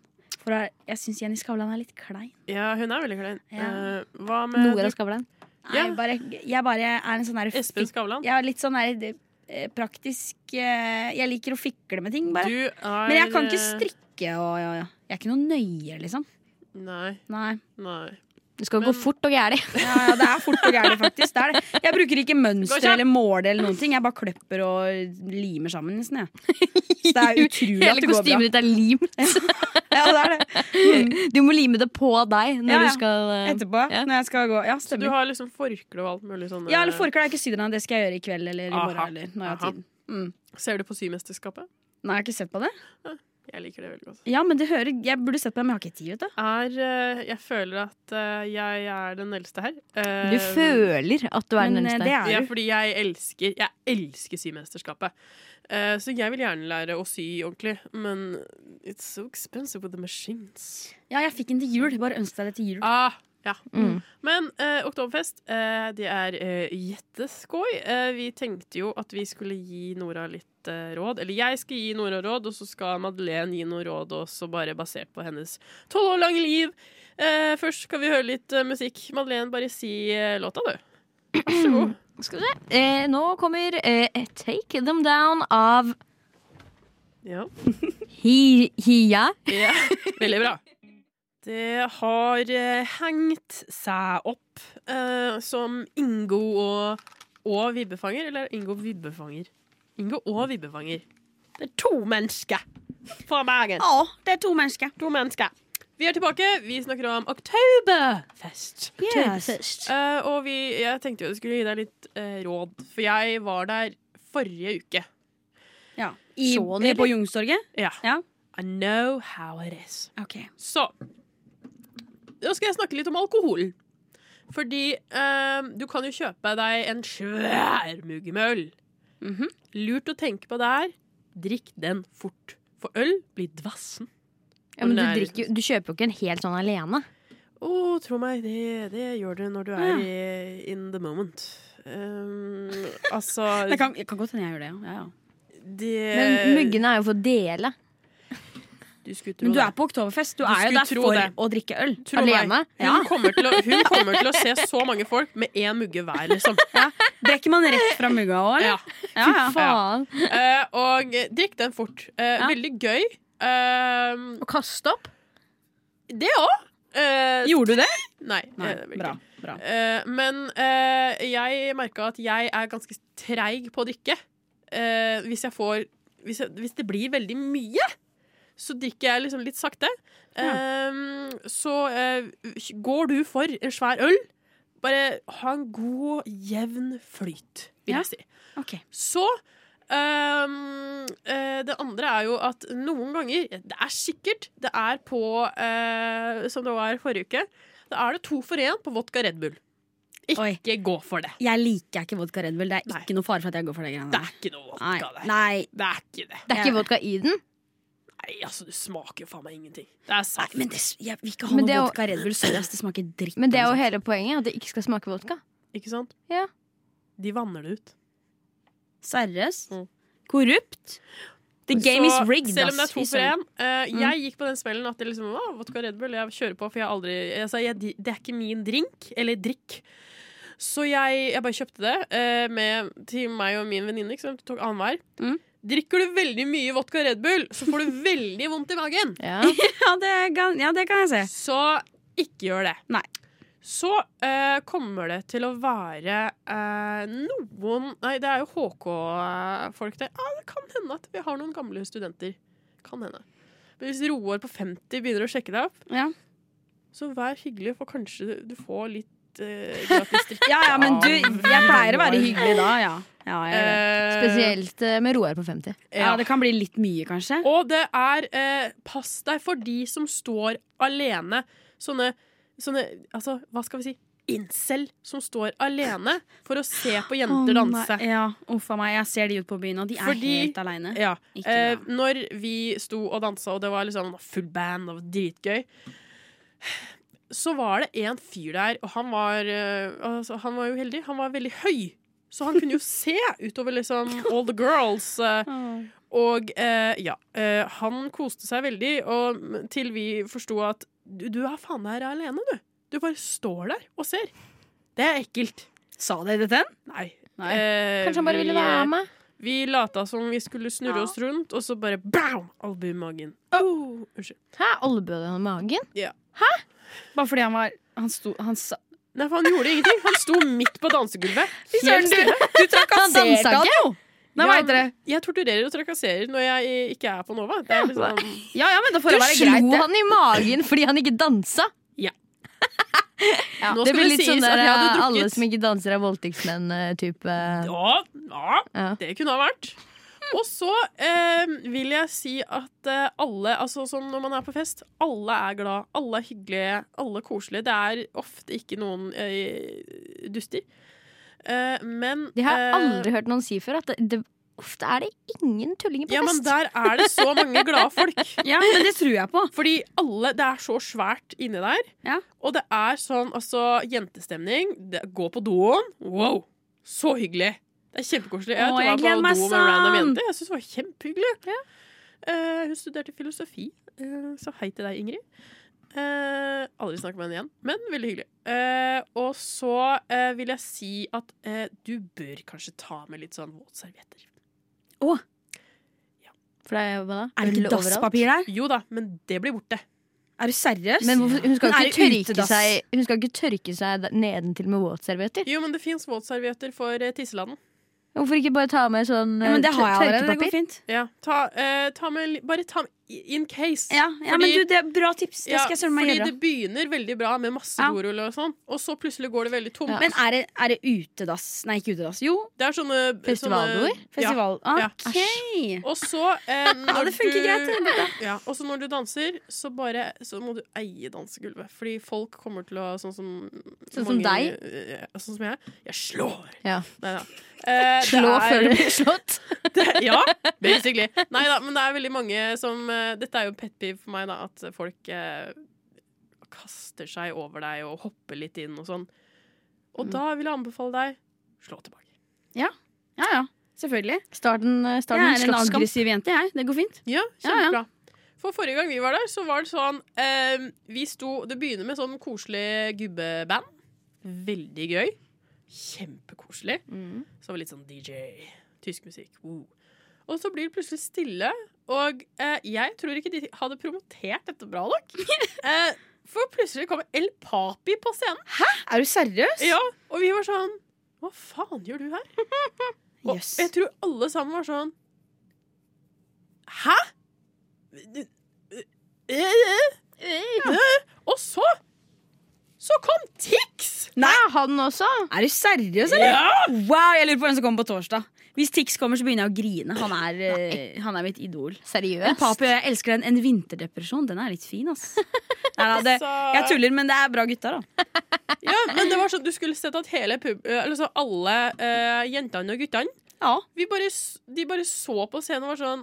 For jeg- jeg syns Jenny Skavlan er litt klein. Ja, hun er veldig klein. Ja. Eh, hva med Nora Skavlan. Nei, Ja. jeg, bare, jeg bare er en sånn der Espen Skavlan? Jeg er litt sånn der eh, praktisk eh, Jeg liker å fikle med ting, bare. Du er Men jeg kan ikke eh, strikke og ja, ja. Jeg er ikke noe nøye, liksom. Nei. Nei. nei. Det skal Men- gå fort og gæli. Ja, ja, det er fort og gærent, faktisk. Det er det. Jeg bruker ikke Gå mønster kjapt. eller måle eller noen ting. Jeg bare kløpper og limer sammen, nesten. Jeg. [laughs] Så det er utrolig at Hele det går bra. kostymet ditt er limt. Ja, det er det. [laughs] Du må lime det på deg [laughs] når Ja, ja. du skal eh, Etterpå, Ja. når jeg skal gå. Ja, Du stemmer. har liksom forkle og alt mulig sånn Ja, eller forkle er ikke sydd ennå. Det skal jeg gjøre i kveld eller i Aha. morgen. Eller når jeg har Aha. tid. Mm. eh, Ser du på Symesterskapet? Nei, jeg har ikke sett på det. Jeg liker det veldig godt. Ja, men det hører Jeg burde sett på det, men jeg har ikke tid, vet du. Er, eh, jeg føler at eh, jeg er den eldste her. Eh, Du føler at du er den Men eh, det eneste. er Ja, du. fordi jeg elsker Jeg elsker Symesterskapet. Eh, så jeg vil gjerne lære å sy ordentlig, men it's so expensive with the machines. Ja, jeg fikk den til jul. Bare ønsk deg det til jul. Ah, ja. Mm. Men eh, Oktoberfest, eh, det er eh, jetteskoj. Eh, vi tenkte jo at vi skulle gi Nora litt eh, råd. Eller jeg skal gi Nora råd, og så skal Madeleine gi noe råd også, bare basert på hennes tolv år lange liv. Eh, først skal vi høre litt eh, musikk. Madeleine, bare si eh, låta, du. Vær så god. Skal vi se. Eh, nå kommer eh, Take Them Down av Ja. Hi Hiya. Ja, [laughs] veldig bra. Det har eh, hengt seg opp eh, som Ingo og, og Vibbefanger. Eller Ingo Vibbefanger. Ingo og Vibbefanger. Det er to mennesker fra Bergen. Å, det er to mennesker. To mennesker. Vi er tilbake. Vi snakker om oktoberfest. Eh, og vi, jeg tenkte jo jeg skulle gi deg litt eh, råd, for jeg var der forrige uke. Ja. I, Så nydelig. på Youngstorget? Ja. Ja. I know how it is. OK. Så Da skal jeg snakke litt om alkohol. Fordi eh, du kan jo kjøpe deg en svær mugge med øl. Mhm. Lurt å tenke på der. Drikk den fort. For øl blir dvassen. Ja, men du, Nei. drikker, jo- du kjøper jo ikke en helt sånn alene. Å, tro meg, det, det gjør du når du er i, in the moment. Um, altså [laughs] Det Eh. kan, det kan godt hende jeg gjør det, ja. ja, ja. det- Men muggene er jo for å dele. Du Du skulle tro Men du det. er på Oktoberfest. Du, er jo skulle der tro for det. å drikke øl. Tro Alene? meg, Hun, Ja. kommer til å, hun kommer til å se så mange folk med én mugge [laughs] hver, liksom. Brekker man rett fra mugga òg, eller? Ja. Ja, ja. Faen. Eh, og drikk den fort. Eh, Ja. Veldig gøy. Eh, Å kaste opp? det òg. Gjorde du det? Nei. eh, det blir bra. ikke. bra. Eh, men eh, jeg merka at jeg er ganske treig på å drikke. Eh, hvis jeg får hvis, jeg, hvis det blir veldig mye, så drikker jeg liksom litt sakte. Eh, så eh, går du for en svær øl, bare ha en god, jevn flyt, vil Ja. jeg si. Ok. Så øhm, øh, Det andre er jo at noen ganger Det er sikkert Det er på øh, Som det var forrige uke Da er det to for en på vodka Red Bull Ikke Oi. gå for det Jeg liker ikke vodka Red Bull. Det er Nei. ikke noe fare for at jeg går for det greiene Det der. er ikke noe Nei. vodka der Nei. Det er ikke det Det er ikke Ja. vodka i den. Nei, altså du smaker jo faen meg ingenting Det er Nei, sant men det, jeg vil ikke ha Men noe det er jo- vodka Red Bull. Sorry, ass, det smaker dritt. Men det er jo altså. hele poenget. At det ikke skal smake vodka. Ikke sant? Ja. De vanner det ut Seriøst? Mm. Korrupt? The game Så is rigged, Selv om det er ass. Fy to for søren. Mm. en øh, Jeg gikk på den smellen at det liksom Å, vodka Red Bull, jeg kjører på For jeg har aldri jeg, sa, jeg, Det er ikke min drink, eller drikk Så jeg, jeg bare kjøpte det eh, med, Til meg og min venninne ikke sant? Vi Tok annenhver Mm. Drikker du veldig mye vodka Red Bull Så får du veldig vondt i magen Ja. Ja, det kan, ja, det kan jeg se. Så ikke gjør det Nei. Så eh, kommer det til å være eh, Noen Nei, det er jo HK-folk der ah, Det kan hende at vi har noen gamle studenter Kan hende Men hvis Roar på 50 begynner å sjekke deg opp Ja. Så vær hyggelig For kanskje du får litt eh, gratis drikke [laughs] Ja, ja, Ah, men du, jeg pleier å være Roar. hyggelig da, ja. Ja, jeg gjør det. Eh, [laughs] Spesielt eh, med Roar på 50. ja, det kan bli litt mye, kanskje. Og det er eh, Pass deg for de som står alene. Sånne, sånne Altså, hva skal vi si? Incel som står alene for å se på jenter Å, nei, danse. Ja, uff a meg. Jeg ser de ut på byen, og de er Fordi- helt aleine. Ja. Ikke Eh, bra. når vi sto og dansa, og det var liksom full band og dritgøy Så var det en fyr der, og han var, eh, altså, han var jo heldig. Han var veldig høy. Så han kunne jo [laughs] se utover liksom all the girls. Eh, og eh, ja, eh, han koste seg veldig, og m- til vi forsto at du, du er faen her alene, du. Du bare står der og ser. Det er ekkelt. Sa dere det til henne? Nei. Nei. Eh, Kanskje han bare vi, ville være med? Vi lata som vi skulle snurre Ja. oss rundt, og så bare bam! Albue i magen. Oh, unnskyld. Hæ? Albød han i magen? Bare fordi han var Han sto han sa, Nei, for han gjorde ingenting. Han sto midt på dansegulvet. Helt stille. Du Han dansa trakasserte han ikke. jo! Nei, hva Ja, heter det? Jeg torturerer og trakasserer når jeg ikke er på Nova. Det er liksom, Ja ja, men da Du får det være slo greit. det. han i magen fordi han ikke dansa! Ja. Ja, Nå det skal blir det litt sies sånn at der jeg hadde eh, alle drukket. som ikke danser, er voldtektsmenn-type. ja, ja, Ja. Det kunne ha vært. Og så eh, vil jeg si at eh, alle, altså sånn når man er på fest, alle er glad, alle er hyggelige, alle er koselige. Det er ofte ikke noen eh, duster. Eh, men Det har jeg eh, aldri hørt noen si før. At det, det, ofte er det ingen tullinger på Ja, men fest. der er det så mange glade folk. Ja, men det tror jeg på. Fordi alle, det er så svært inni der. Ja. Og det er sånn, altså, jentestemning. Det, gå på doen. Wow! Så hyggelig. Det er kjempekoselig. Jeg, Å, tror jeg jeg, gleder var meg på do med en random sånn. jente. Jeg synes det var kjempehyggelig. Eh, hun studerte filosofi, eh, så hei til deg, Ingrid. Eh, aldri snakket med henne igjen, men veldig hyggelig. Eh, og så eh, vil jeg si at eh, du bør kanskje ta med litt sånn våtservietter. For det er jo hva da? Er det Øl ikke overalt. dasspapir der? Jo da, men det blir borte. Er du seriøs? Men hvorfor, hun, skal Men jo er ikke det tørke utedass? seg, hun skal ikke tørke seg da- nedentil med våtservietter. Jo, men det fins våtservietter for eh, tisselanden. Hvorfor ikke bare ta med sånn ja, men det eh, har jeg allerede. Det går tørkepapir? fint. Ja, ta, eh, ta med, li- bare ta med i- in case. Ja, ja men Fordi- du, det er bra tips. Det Ja, skal jeg søren meg fordi gjøre. det begynner veldig bra med masse Ja. dorull og sånn, og så plutselig går det veldig tomt. Ja. Men er det, er det utedass? Nei, ikke utedass. Jo, Det er sånne Festivaldoer? sånne- Ja. festival. Ja. OK. [laughs] Ja, Og så eh, når det funker du, greit. det. Ja, og så når du danser, så bare Så må du eie dansegulvet. Fordi folk kommer til å Sånn som Sånn som deg? eh, Sånn som jeg. Jeg slår! Ja. Nei da. Eh, det Slå er- før du [laughs] blir slått? det, ja, basically. Nei da, men det er veldig mange som eh, Dette er jo pet peeve for meg, da, at folk eh, kaster seg over deg og hopper litt inn og sånn. Og da vil jeg anbefale deg slå tilbake. ja. Selvfølgelig. Start en, eh, start Jeg en er en slåsskamp. aggressiv jente, jeg. Det går fint. Ja, Ja, ja. kjempebra. For forrige gang vi var der, så var det sånn ehm, Vi sto Det begynner med sånn koselig gubbeband. Veldig gøy. Kjempekoselig. Mm. Så var det litt sånn DJ. Tysk musikk. Woo. Og så blir det plutselig stille. Og eh, jeg tror ikke de hadde promotert dette bra nok. [laughs] eh, for plutselig kommer El Papi på scenen. Er du seriøs? Ja, og vi var sånn Hva faen gjør du her? Og Jøss. jeg tror alle sammen var sånn Hæ? Og så så kom Tix! Nei, han også. Er du seriøs, eller? Wow, jeg lurer på hvem som kommer på torsdag. Hvis Tix kommer, så begynner jeg å grine. Han er, eh, han er mitt idol. Men Seriøst. Papi og jeg elsker den. En vinterdepresjon. Den er litt fin, ass. Nei, da, det, jeg tuller, men det er bra gutta, da. Ja, men det var sånn, du skulle sett at hele pub, eh, eller så alle eh, jentene og guttene Ja. vi bare, s- De bare så på scenen og var sånn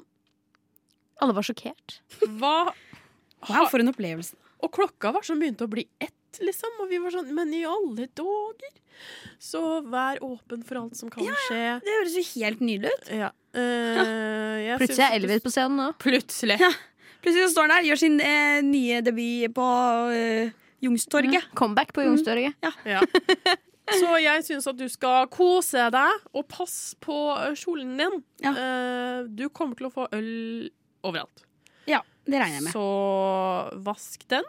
Alle var sjokkert. Hva Wow, for en opplevelse. Og klokka var sånn begynte å bli ett, liksom. Og vi var sånn Men i alle dager! Så vær åpen for alt som kan skje. Det høres jo helt nydelig ut. Ja. Eh, jeg Plutselig syns- er Elvis på scenen nå. Plutselig. Plutselig så står han der, gjør sin eh, nye debut på eh, Youngstorget. Mm. Comeback på Youngstorget. Ja. Så jeg syns at du skal kose deg, og pass på eh, kjolen din. Ja. Eh, du kommer til å få øl overalt. Ja, det regner jeg med. Så vask den.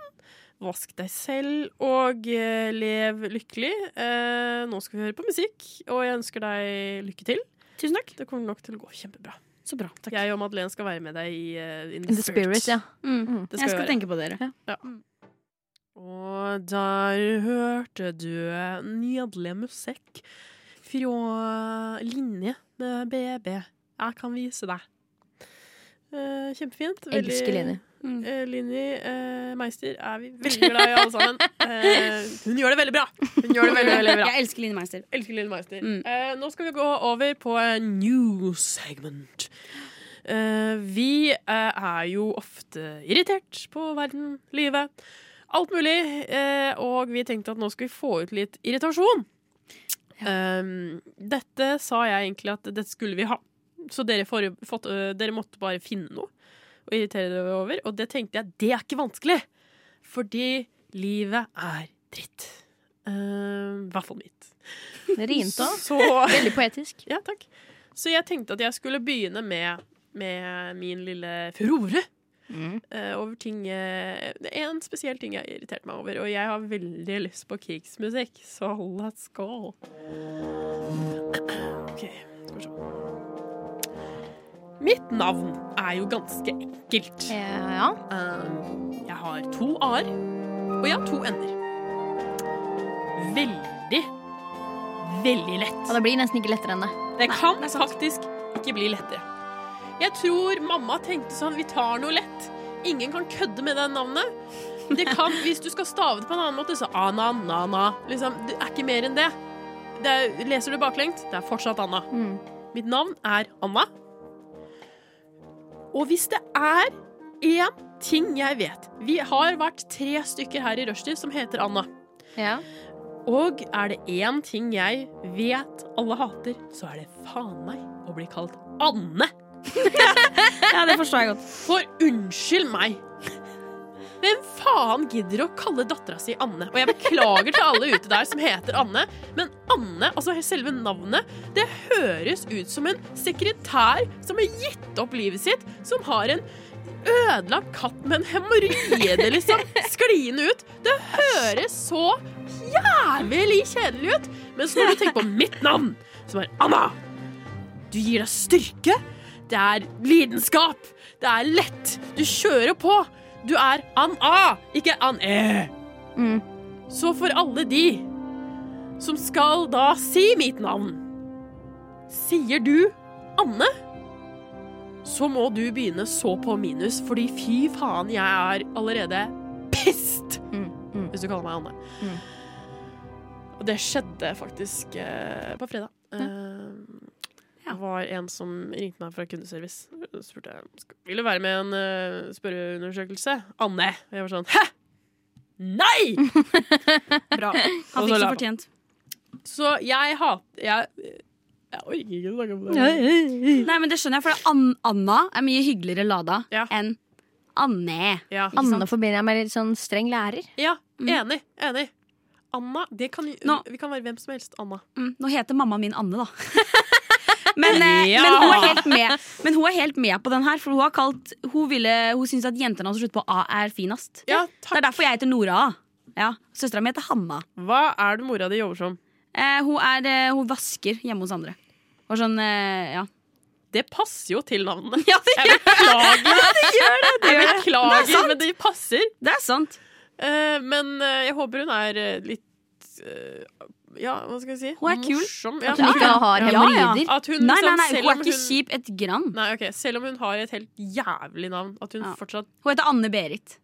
Vask deg selv, og eh, lev lykkelig. Eh, nå skal vi høre på musikk, og jeg ønsker deg lykke til. Tusen takk. Det kommer nok til å gå kjempebra. Så bra. Takk. Jeg og Madeleine skal være med deg i eh, In the, In the spirit, ja. Mm. Det skal Jeg skal jeg gjøre. tenke på dere. Og der hørte du eh, nydelig musikk fra Linje med BB. Jeg kan vise deg. Eh, kjempefint. Elsker Leni. Eh, Linni eh, Meister er vi veldig glad i, alle [laughs] sammen. Eh, hun gjør det veldig bra! Hun gjør det veldig, veldig bra. Jeg elsker Line Meister. Elsker Lille Meister. Mm. Eh, nå skal vi gå over på eh, new segment. Eh, vi eh, er jo ofte irritert på verden, livet, alt mulig. eh, og vi tenkte at nå skal vi få ut litt irritasjon. Eh, dette sa jeg egentlig at dette skulle vi ha. Så dere, får, fått, eh, dere måtte bare finne noe å irritere dere over. Og det tenkte jeg, det er ikke vanskelig. Fordi livet er dritt. Eh, I hvert fall mitt. Det rimte òg. [laughs] Så Veldig poetisk. ja, takk. Så jeg tenkte at jeg skulle begynne med, med min lille furore. eh, over ting eh, Det er en spesiell ting jeg har irritert meg over, og jeg har veldig lyst på krigsmusikk, så let's go. OK, skal vi se. Mitt navn er jo ganske enkelt. Ja. Um, jeg har to a-er, og jeg har to n-er. Veldig, veldig lett. Og det blir nesten ikke lettere enn det. Det kan faktisk ikke bli lettere. Jeg tror mamma tenkte sånn Vi tar noe lett. Ingen kan kødde med det navnet. Det kan, Hvis du skal stave det på en annen måte, så Anna, Nana liksom, Det er ikke mer enn det. det er, leser du baklengs, det er fortsatt Anna. Mm. Mitt navn er Anna. Og hvis det er én ting jeg vet Vi har vært tre stykker her i rushtid som heter Anna. Ja. Og er det én ting jeg vet alle hater, så er det faen meg å bli kalt Anne. Ja, det forstår jeg godt. For unnskyld meg! Hvem faen gidder å kalle dattera si Anne? Og jeg beklager til alle ute der som heter Anne, men Anne, altså selve navnet, det høres ut som en sekretær som har gitt opp livet sitt, som har en ødelagt katt med en hemoroide liksom skliende ut. Det høres så jævlig kjedelig ut. Mens når du tenker på mitt navn, som er Anna, du gir deg styrke. Det er lidenskap. Det er lett. Du kjører på. Du er Ann-A, ikke Ann-E. Mm. Så for alle de som skal da si mitt navn, sier du Anne, så må du begynne så på minus, fordi fy faen, jeg er allerede pissed Mm. Mm. hvis du kaller meg Anne. Mm. Mm. Og det skjedde faktisk eh, på fredag. Eh, Det var en som ringte meg fra kundeservice. Så spurte jeg "Sk- vil du være med i en eh, spørreundersøkelse. Anne! Og jeg var sånn hæ! [laughs] Nei! Bra. Og så Han fikk la- så fortjent. Så jeg hater Jeg, jeg orker ikke å snakke om det. Nei, men det skjønner jeg, for An Anna er mye hyggeligere lada Ja. enn Anne. Ja, Anne forbinder jeg med litt sånn streng lærer. ja enig. Enig. Anna. Det kan, Mm. Nå. Vi kan være hvem som helst Anna. Mm, nå heter mammaen min [laughs] Anne, da. men, eh, Ja. men, hun er helt med. men hun er helt med på den her, for hun har kalt Hun, ville, hun syns at jentene som slutter på A, er finest. Ja, Det er takk. derfor jeg heter Nora. Ja, Søstera mi heter Hanna. Hva er det mora di jobber som? Eh, hun, er, eh, hun vasker hjemme hos andre. Og sånn, eh, ja. Det passer jo til navnene. [laughs] ja det, Jeg gjør beklager, det, det, jeg gjør det! Det er beklager sant. men det passer. Det er sant. Eh, men eh, jeg håper hun er eh, litt eh, Ja, hva skal jeg si? Hun er kul. Morsom. Ja. At hun ikke har Ja, ja. hemoroider. At hun, Nei, nei, liksom, nei, hun selv er om ikke kjip et gram. Nei, ok, Selv om hun har et helt jævlig navn, at hun Ja. fortsatt Hun heter Anne-Berit.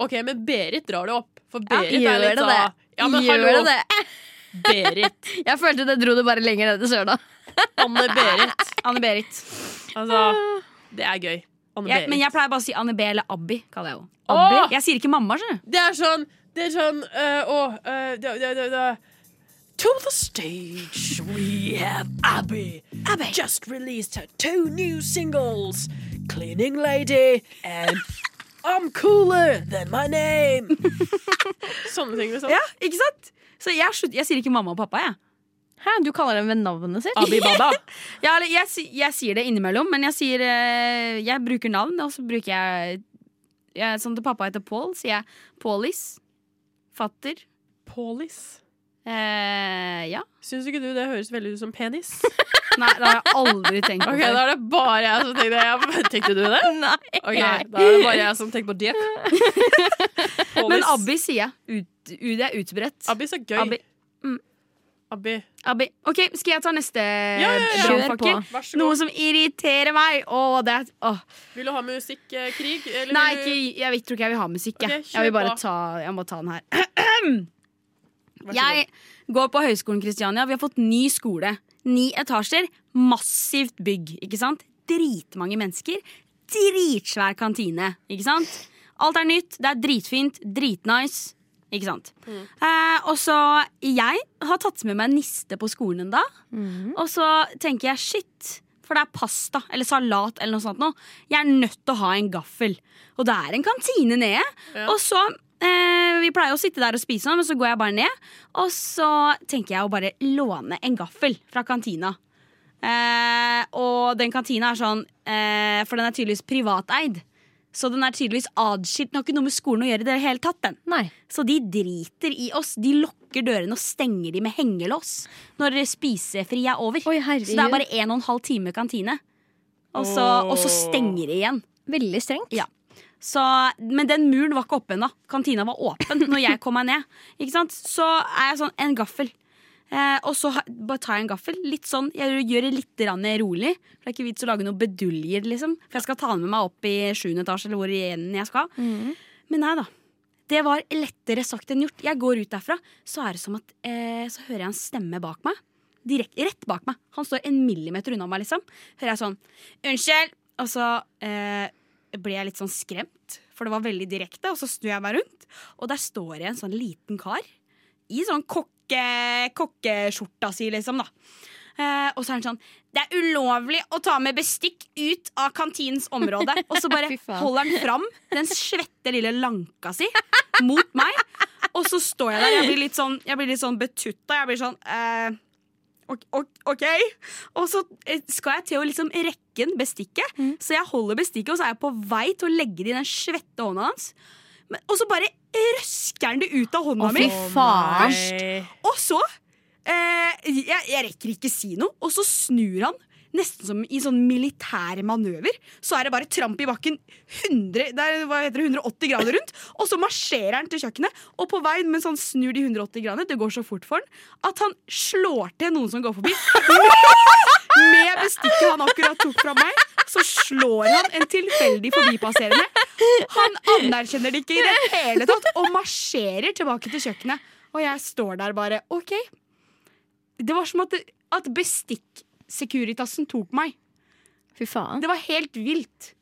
OK, men Berit drar det opp. For Ja, Berit gjør er litt det sånn det? Ja, men Gjør hallo, det [laughs] det? Berit. Jeg følte det dro det bare lenger ned til søla. Anne-Berit. Anne-Berit. Altså, det er gøy. Jeg, Anne-Berit. men jeg pleier bare å si Anne B eller Abbi. kaller jeg henne. Åh! Jeg sier ikke mamma. skjønner du. Det er sånn Det er sånn øh, Å øh, da, da, da, da. To the stage we have Abby. Just released her two new singles, Cleaning Lady and I'm Cooler Than My [laughs] Name. Sånne ting, liksom. Ja, ikke sant? Så jeg, slutt, jeg sier ikke mamma og pappa, jeg. Hæ, du kaller dem ved navnet sitt? Abby Baba. Jeg, eller, jeg, si- jeg sier det innimellom, men jeg sier eh, Jeg bruker navn, og så bruker jeg, jeg Sånn til pappa heter Paul, sier jeg Paulis. Fatter. Paulis. Eh, ja. Syns ikke du det høres veldig ut som penis? Nei, det har jeg aldri tenkt på. [laughs] Ok, før. Da er det bare jeg som tenkte det. Tenkte du det? Nei. Ok, Da er det bare jeg som tenker på det. [laughs] Paulis. men Abbi sier jeg. Ut, u, det er utbredt. Abbi så gøy. Abbi. Mm. Abbi. Abbi. OK, skal jeg ta neste? Ja, ja, ja. brannfakkel? Kjør på. Vær så god. Noe som irriterer meg. Å, det er, åh. Vil du ha eh, musikkrig? Nei, ikke, jeg vet- tror ikke jeg vil ha musikk. Jeg, Ok, kjør jeg vil bare på. ta, jeg må ta den her. [clears throat] Jeg går på Høgskolen Kristiania. Vi har fått ny skole. Ni etasjer, massivt bygg. Ikke sant? Dritmange mennesker. Dritsvær kantine. Ikke sant? Alt er nytt, det er dritfint, dritnice. Ikke sant? Mm. Eh, og så Jeg har tatt med meg niste på skolen en dag. Og så tenker jeg shit, for det er pasta eller salat eller noe sånt nå. Jeg er nødt til å ha en gaffel. Og det er en kantine nede. Ja. Og så eh, Vi pleier å sitte der og spise, sånn, men så går jeg bare ned. Og så tenker jeg å bare låne en gaffel fra kantina. Eh, og den kantina er sånn, eh, for den er tydeligvis privateid. Så den er tydeligvis adskilt. Den har ikke noe med skolen å gjøre. i det hele tatt den Nei. så de driter i oss. De lukker dørene og stenger de med hengelås når spisefri er over. Oi, så det er herregud. bare en og en halv time kantine. Og så, Åh. og så stenger de igjen. Veldig strengt. Ja. Så, men den muren var ikke oppe ennå. Kantina var åpen når jeg kom meg ned. Ikke sant? Så er jeg sånn En gaffel. Eh, og så ha- bare tar jeg en gaffel. Litt sånn, Jeg gjør det litt grann rolig. For Det er ikke vits å lage noe beduljer, liksom. For jeg skal ta den med meg opp i sjuende etasje, eller hvor igjen jeg skal. Men nei da. Det var lettere sagt enn gjort. Jeg går ut derfra, så er det som at eh, Så hører jeg en stemme bak meg. Direkt, rett bak meg. Han står en millimeter unna meg, liksom. Hører jeg sånn Unnskyld! Og så eh, ble jeg litt sånn skremt, for det var veldig direkte. Og så snur jeg meg rundt, og der står jeg en sånn liten kar i sånn kokke, kokkeskjorta si, liksom, da. Eh, og så er han sånn Det er ulovlig å ta med bestikk ut av kantinens område. [laughs] Og så bare Fy faen. holder han fram den svette lille lanka si mot meg. Og så står jeg der. Jeg blir litt sånn, jeg blir litt sånn betutta. Jeg blir sånn eh, Ok, ok- ok. Og så eh, skal jeg til å liksom rekke den bestikket. Mm. Så jeg holder bestikket, og så er jeg på vei til å legge det i den svette hånda hans. Men, og så bare røsker han det ut av hånda Å, mi. fy faen. Og så eh, jeg, jeg rekker ikke si noe, og så snur han. Nesten som i sånn militær manøver. Så er det bare tramp i bakken 100, det er, hva heter det, 180 grader rundt. Og så marsjerer han til kjøkkenet, og på veien mens han snur de 180 gradene, det går så fort for han, at han slår til noen som går forbi. [laughs] Med bestikket han akkurat tok fra meg, så slår han en tilfeldig forbipasserende. Han anerkjenner det ikke i det hele tatt, og marsjerer tilbake til kjøkkenet. Og jeg står der bare OK. Det var som at, det- at bestikk-sekuritasen tok meg. Fy faen. Det var helt vilt.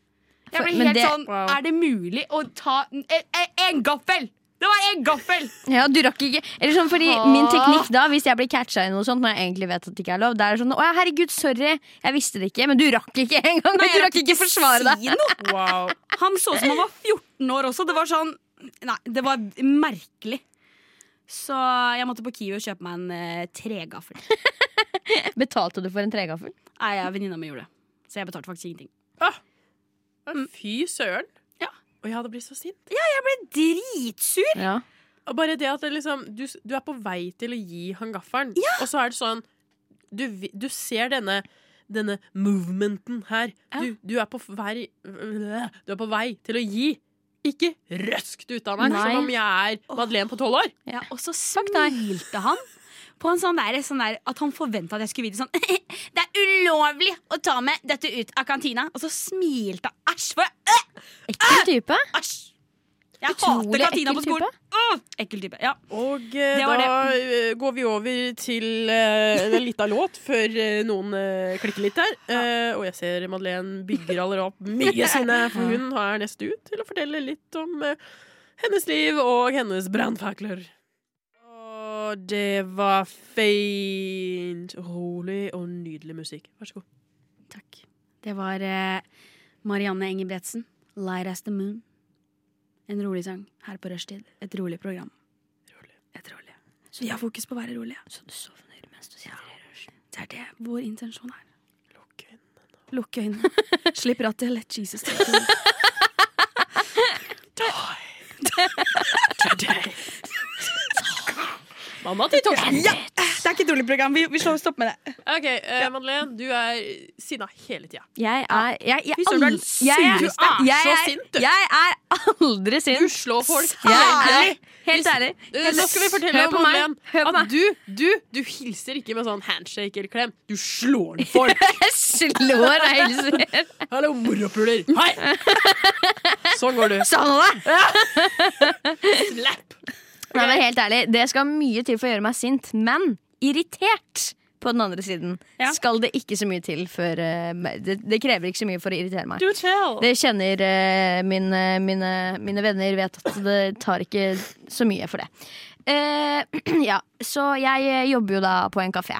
Jeg For- ble men helt det- sånn Er det mulig å ta en, en, en gaffel? Det Nå er det en gaffel! Ja, du rakk ikke Eller sånn, fordi Min teknikk da, hvis jeg blir catcha i noe sånt når jeg egentlig vet at det ikke er lov, det er sånn Å ja, herregud, sorry, jeg visste det ikke, men du rakk ikke [laughs] engang. Du rakk ikke forsvare deg. Si noe. Wow. Han så ut som han var 14 år også. Det var sånn Nei, det var merkelig. Så jeg måtte på Kiwi og kjøpe meg en eh, tregaffel. Betalte du for en tregaffel? Nei, jeg- venninna mi gjorde det. Så jeg betalte faktisk ingenting. Fy søren. Mm. Ja. Og jeg hadde blitt så sint. Dritsur! Ja. Og bare det at det liksom, du, du er på vei til å gi han gaffelen, og så er det sånn Du, vi- du ser denne, denne movementen her. Du, du, er på vei, øh, du er på vei til å gi. Ikke røskt ut av meg, Nei. som om jeg er Madeleine på tolv år. Ja, og så smilte han på en sånn der, sånn der at han forventa at jeg skulle vite sånn [laughs] Det er ulovlig å ta med dette ut av kantina. Og så smilte han. Æsj! For øh, Ekkel type. æsj! Jeg hater Utrolig kantina på ekkel skolen. Øh, ekkel type. Ja. Og eh, Det var da eh, går vi over til eh, en liten låt før eh, noen eh, klikker litt her. Eh, og jeg ser Madeleine bygger allerede [laughs] opp mye sinne, for hun er nest ut til å fortelle litt om eh, hennes liv og hennes brannfakler. Og det var fint, rolig og nydelig musikk. Vær [laughs] så god. Takk. Det var eh, Marianne Engebretsen, 'Light as the Moon'. En rolig sang her på rushtid. Et rolig program. Et rolig. Så vi har fokus på å være rolig. Så du sovner mens du sitter i rushen? Det er det vår intensjon er. Lukk øynene. Lukke øynene. [laughs] Slipp rattet. Let Jesus take you. Mamma til Torsten. Det er ikke et rolig program. Vi, vi slår stopp med det. OK, eh, Madeleine, du er sinna hele tida. Jeg er Jeg, jeg, Fy søren, du er den aldri- jeg, er- sureste. Du er jeg, så er- sint, du. Jeg er aldri Du sint. slår folk. Jeg er, helt ærlig. Du, Nå skal vi fortelle Hør deg, på meg. Madeleine, Hør på at meg. du, du, du hilser ikke med sånn handshake eller klem. Du slår ned [laughs] folk. Jeg slår deg hilser. Hallo, morapuler. [laughs] Hei! Sånn går du. Sa han det? Slap. Nei, men helt ærlig, Det skal mye til for å gjøre meg sint, men irritert på den andre siden Ja. skal det ikke så mye til før eh, meg- det, det krever ikke så mye for å irritere meg. Do tell. Det kjenner eh, mine, mine, mine venner vet at det tar ikke så mye for det. Eh, [clears throat] ja, så jeg eh, jobber jo da på en kafé.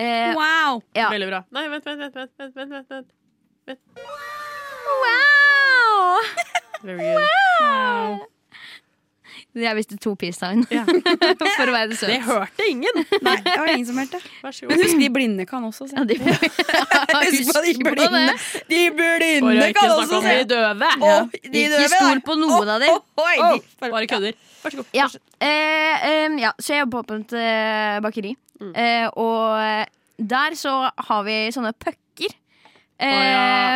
Eh, Wow! ja. Veldig bra. Nei, vent, vent, vent. vent, vent, vent, vent, vent. Wow! Very good. Jeg visste to peace sign Ja. [laughs] for å være Det søt. hørte ingen. Nei, det var ingen som hørte. Vær så Men god. husk, de blinde kan også se. Ja, de- [laughs] Husk på det. De Bare blinde ikke snakke sånn. om de døve. Å, de Ikke døve, stol da. på noen av dem. Å, oi, de- Bare kødder. Vær så god. Ja. Eh, em, ja, så jeg jobber på et eh, bakeri. Mm. Eh, og der så har vi sånne pucker. Å ja,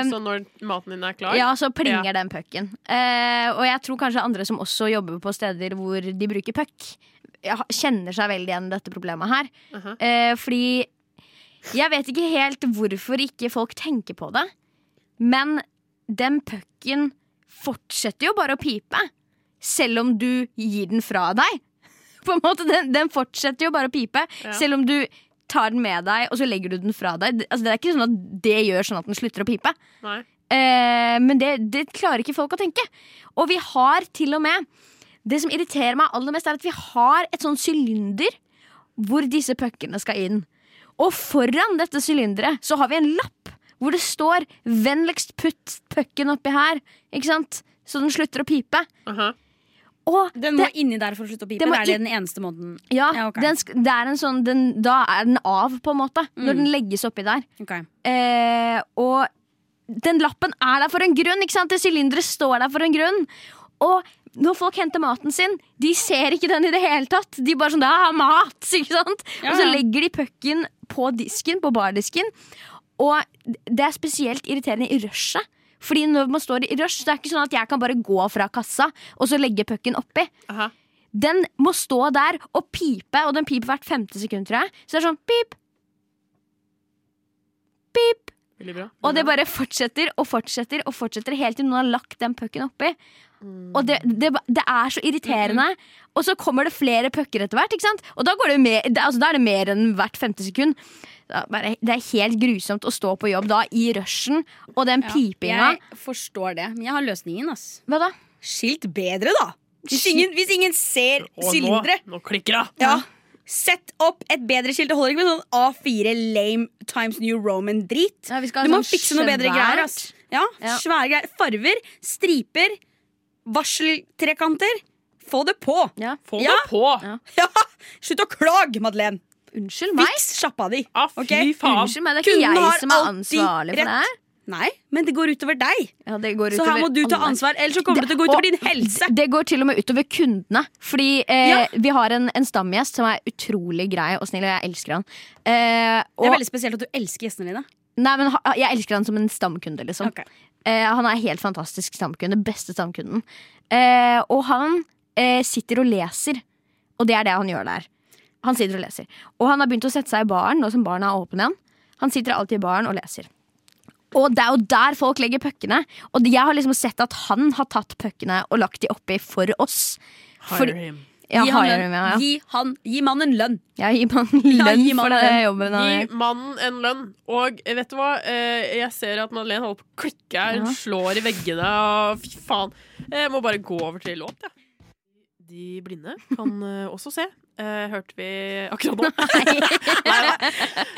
Eh, så når maten din er klar? ja, så plinger Ja. den pucken. Eh, og jeg tror kanskje andre som også jobber på steder hvor de bruker puck, ja, kjenner seg veldig igjen i dette problemet her. Aha. eh, fordi jeg vet ikke helt hvorfor ikke folk tenker på det, men den pucken fortsetter jo bare å pipe, selv om du gir den fra deg. [laughs] På en måte, Den, den fortsetter jo bare å pipe, Ja. selv om du tar den med deg og så legger du den fra deg. Det- Altså, det er ikke sånn at det gjør sånn at den slutter å pipe. Nei. Eh, men det, det klarer ikke folk å tenke. Og vi har til og med Det som irriterer meg aller mest, er at vi har et sånn sylinder hvor disse puckene skal inn. Og foran dette sylinderet så har vi en lapp hvor det står 'vennligst putt pucken oppi her', ikke sant? så den slutter å pipe. Aha. Og Den må inni der for å slutte å pipe. Den Det må er det inn- den eneste måten. ja, Ja, ok. den, sk- det er en sånn, den, da er den av, på en måte, når Mm. den legges oppi der. Ok. Eh, og den lappen er der for en grunn, ikke sant? Det sylinderet står der for en grunn. Og når folk henter maten sin, de ser ikke den i det hele tatt. De bare sånn, det er mat, [laughs] ikke sant? Ja, Og så ja. legger de pucken på disken, på bardisken. Og det er spesielt irriterende i rushet. Fordi når man står i rush, så er det ikke sånn at jeg kan bare gå fra kassa og så legge pucken oppi Aha. den må stå der og pipe, og den piper hvert femte sekund, tror jeg. Så det er sånn pip, pip. Veldig bra. Og det bare fortsetter og fortsetter og fortsetter helt til noen har lagt den pucken oppi. Mm. Og det, det, ba- det er så irriterende. Mm-hmm. Og så kommer det flere pucker etter hvert, ikke sant? Og da, går det mer, det, altså, da er det mer enn hvert femte sekund. Da bare- Det er helt grusomt å stå på jobb da, i rushen, og den pipinga Jeg forstår det, men jeg har løsningen. ass Hva da? Skilt bedre, da! Hvis ingen, hvis ingen ser Og nå, sylindere, nå klikker det! ja. sett opp et bedre skilt. Det holder ikke med sånn A4 lame Times New Roman-drit. Ja, vi skal ha Du må sånn fikse noe bedre svært. greier. Ass. Ja, Ja. Svære greier. Farver, striper, varseltrekanter. Få det på! [laughs] Ja. Få Ja. det på! Ja. Ja, Slutt å klage, Madeleine! Unnskyld meg. Fiks sjappa di. Ah, fy ok? faen! Unnskyld meg, det er ikke Kunden har jeg som er alltid ansvarlig for det her. Nei, men det går utover deg. Ja, det går Så her utover må du ta alle. ansvar, ellers så kommer det til å gå og utover din helse. Det går til og med utover kundene. Fordi eh, Ja. vi har en, en stamgjest som er utrolig grei og snill, og jeg elsker han. Eh, Det er og, veldig spesielt at du elsker gjestene dine. nei, men ha- jeg elsker han som en stamkunde, liksom. Ok. Eh, han er helt fantastisk stamkunde. Beste stamkunden. Eh, og han eh, sitter og leser, og det er det han gjør der. Han sitter og leser. Og han har begynt å sette seg i baren nå som baren er åpen igjen. Han sitter alltid i baren og leser. Og det er jo der folk legger puckene. Og jeg har liksom sett at han har tatt puckene og lagt de oppi for oss. For- Hire him. Ja, Gi, han hire lønn. him, ja, ja. Gi, han, gi mannen lønn. Jeg gir man lønn gi mannen for den lønn. jobben han Gi gjør. mannen en lønn. Og eh, vet du hva? Eh, Jeg ser at Madeleine holder på å klikke her. Hun Ja. slår i veggene og fy faen. Jeg må bare gå over til låt, jeg. De blinde kan eh, også se. Eh, hørte vi akkurat nå? Neida.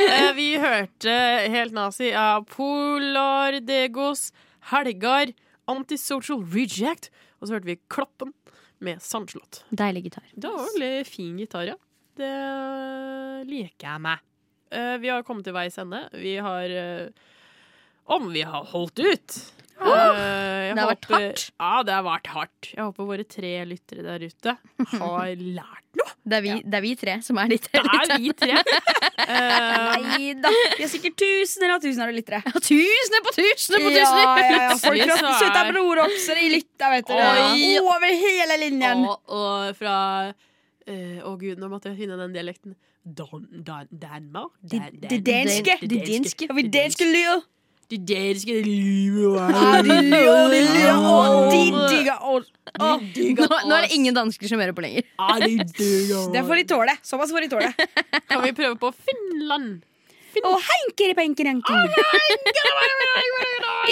Eh, vi hørte helt nazi av Polar Degos, Helgar, Antisocial Reject. Og så hørte vi Kloppen med Sandslott. Deilig gitar. Det var veldig fin gitar, ja. Det liker jeg meg. Eh, vi har kommet til veis ende. Vi har eh, Om vi har holdt ut! Eh, jeg det har vært håper- hardt. Ja, det har vært hardt. Jeg håper våre tre lyttere der ute [laughs] har lært noe. Det er vi, det er vi tre som er de tre. Det er vi tre. Eh, Nei da. Vi har sikkert tusener av tusener av lyttere. Tusener på tusener på Ja, tusener! ja, ja. Folk fra Plutselig så er- Søta broroksere i lytta, vet du. Oi. Over hele linjen. og, og fra eh, Å gud, nå måtte jeg finne den dialekten. Dan, dan, Danmark? Dan- Det danske. Det Det danske. danske. Og vi danske lyder. Det danske livet. Ja, de lyder, de lyder. Og de digger oss. Å, Nå, nå er det ingen dansker som hører på lenger. Det får de tåle. Såpass får de [laughs] tåle. Kan vi prøve på Finland? Og heinkeripenkeranken.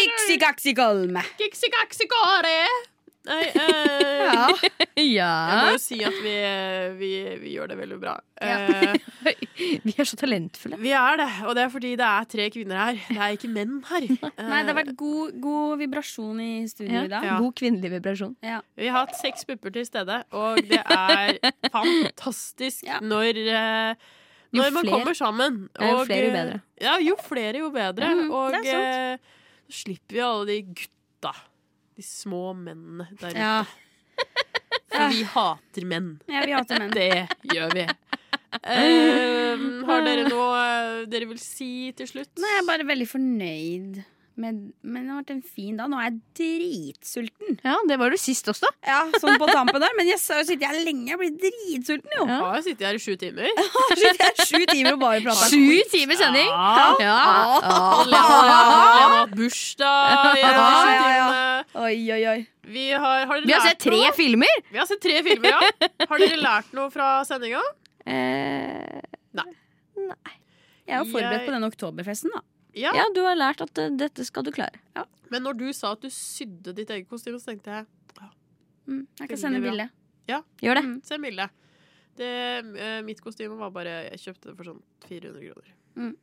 Iksigaksikolme. Kiksikaksikare! Nei, eh, Ja. jeg må [laughs] Ja. jo si at vi, vi, vi gjør det veldig bra. Eh, Vi er så talentfulle. vi er det, og det er fordi det er tre kvinner her. Det er ikke menn her. Eh, [laughs] Nei, det har vært god, god vibrasjon i studio i dag. Ja. God kvinnelig vibrasjon. Ja. Vi har hatt seks pupper til stede, og det er fantastisk Ja. når eh, Jo når man flere- kommer sammen. Ja, jo flere, jo eh, bedre. Ja, jo flere, jo bedre. Mm, og det er sant. eh, så slipper vi alle de gutta. De små mennene der ute. Ja. For vi hater menn. ja, vi hater menn. Det gjør vi. Eh, har dere noe eh, dere vil si til slutt? Nå er jeg bare veldig fornøyd. Med, men det har vært en fin dag. Nå er jeg dritsulten. Ja, det var du sist også. Ja, sånn på tampen der Men jeg s- har sittet her lenge. Jeg blir dritsulten, jo. Jeg har sittet her i sju timer. Har sittet her sju timer og bare prata. Sju timer sending. Ja. Ja. Alle har hatt bursdag i Ja, sju ja, ja. timene. Oi, oi, oi. Vi har, har dere Vi har lært sett tre noe? filmer. Vi har sett tre [laughs] filmer, ja. Har dere lært noe fra sendinga? Eh, Jeg er jo forberedt Jeg- på den oktoberfesten, da. Ja. ja, du har lært at eh, dette skal du klare. Men når du sa at du sydde ditt eget kostyme, så tenkte jeg Mm, jeg Veldig kan sende bra. bilde. Gjør det. se bildet. Det, eh, mitt kostyme var bare Jeg kjøpte det for sånn 400 kroner. Mm.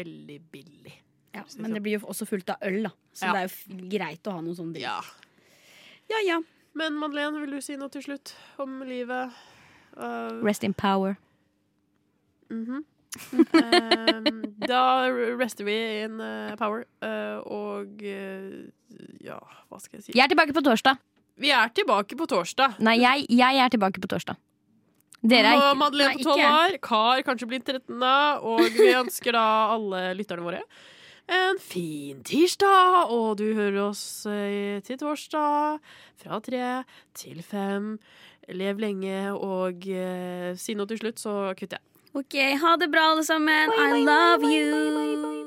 Veldig billig. Ja, men det blir jo også fullt av øl, da. Så Ja. det er jo f- greit å ha noe sånn dritt. Ja. Ja, ja. Men Madeleine, vil du si noe til slutt om livet? Uh, Rest in power. [laughs] mhm. Ehm, da rester vi in eh, power. eh, og eh, ja, hva skal jeg si? Jeg er tilbake på torsdag. Vi er tilbake på torsdag. Nei, jeg, jeg er tilbake på torsdag. Dere er Og ikke Madeleine Nei, på ikke 12 jeg. år, Kar kanskje blir 13, og vi ønsker da alle lytterne våre en fin tirsdag, og du hører oss eh, til torsdag fra tre til fem. Lev lenge, og eh, si noe til slutt, så kutter jeg. OK, ha det bra, alle sammen. I love you.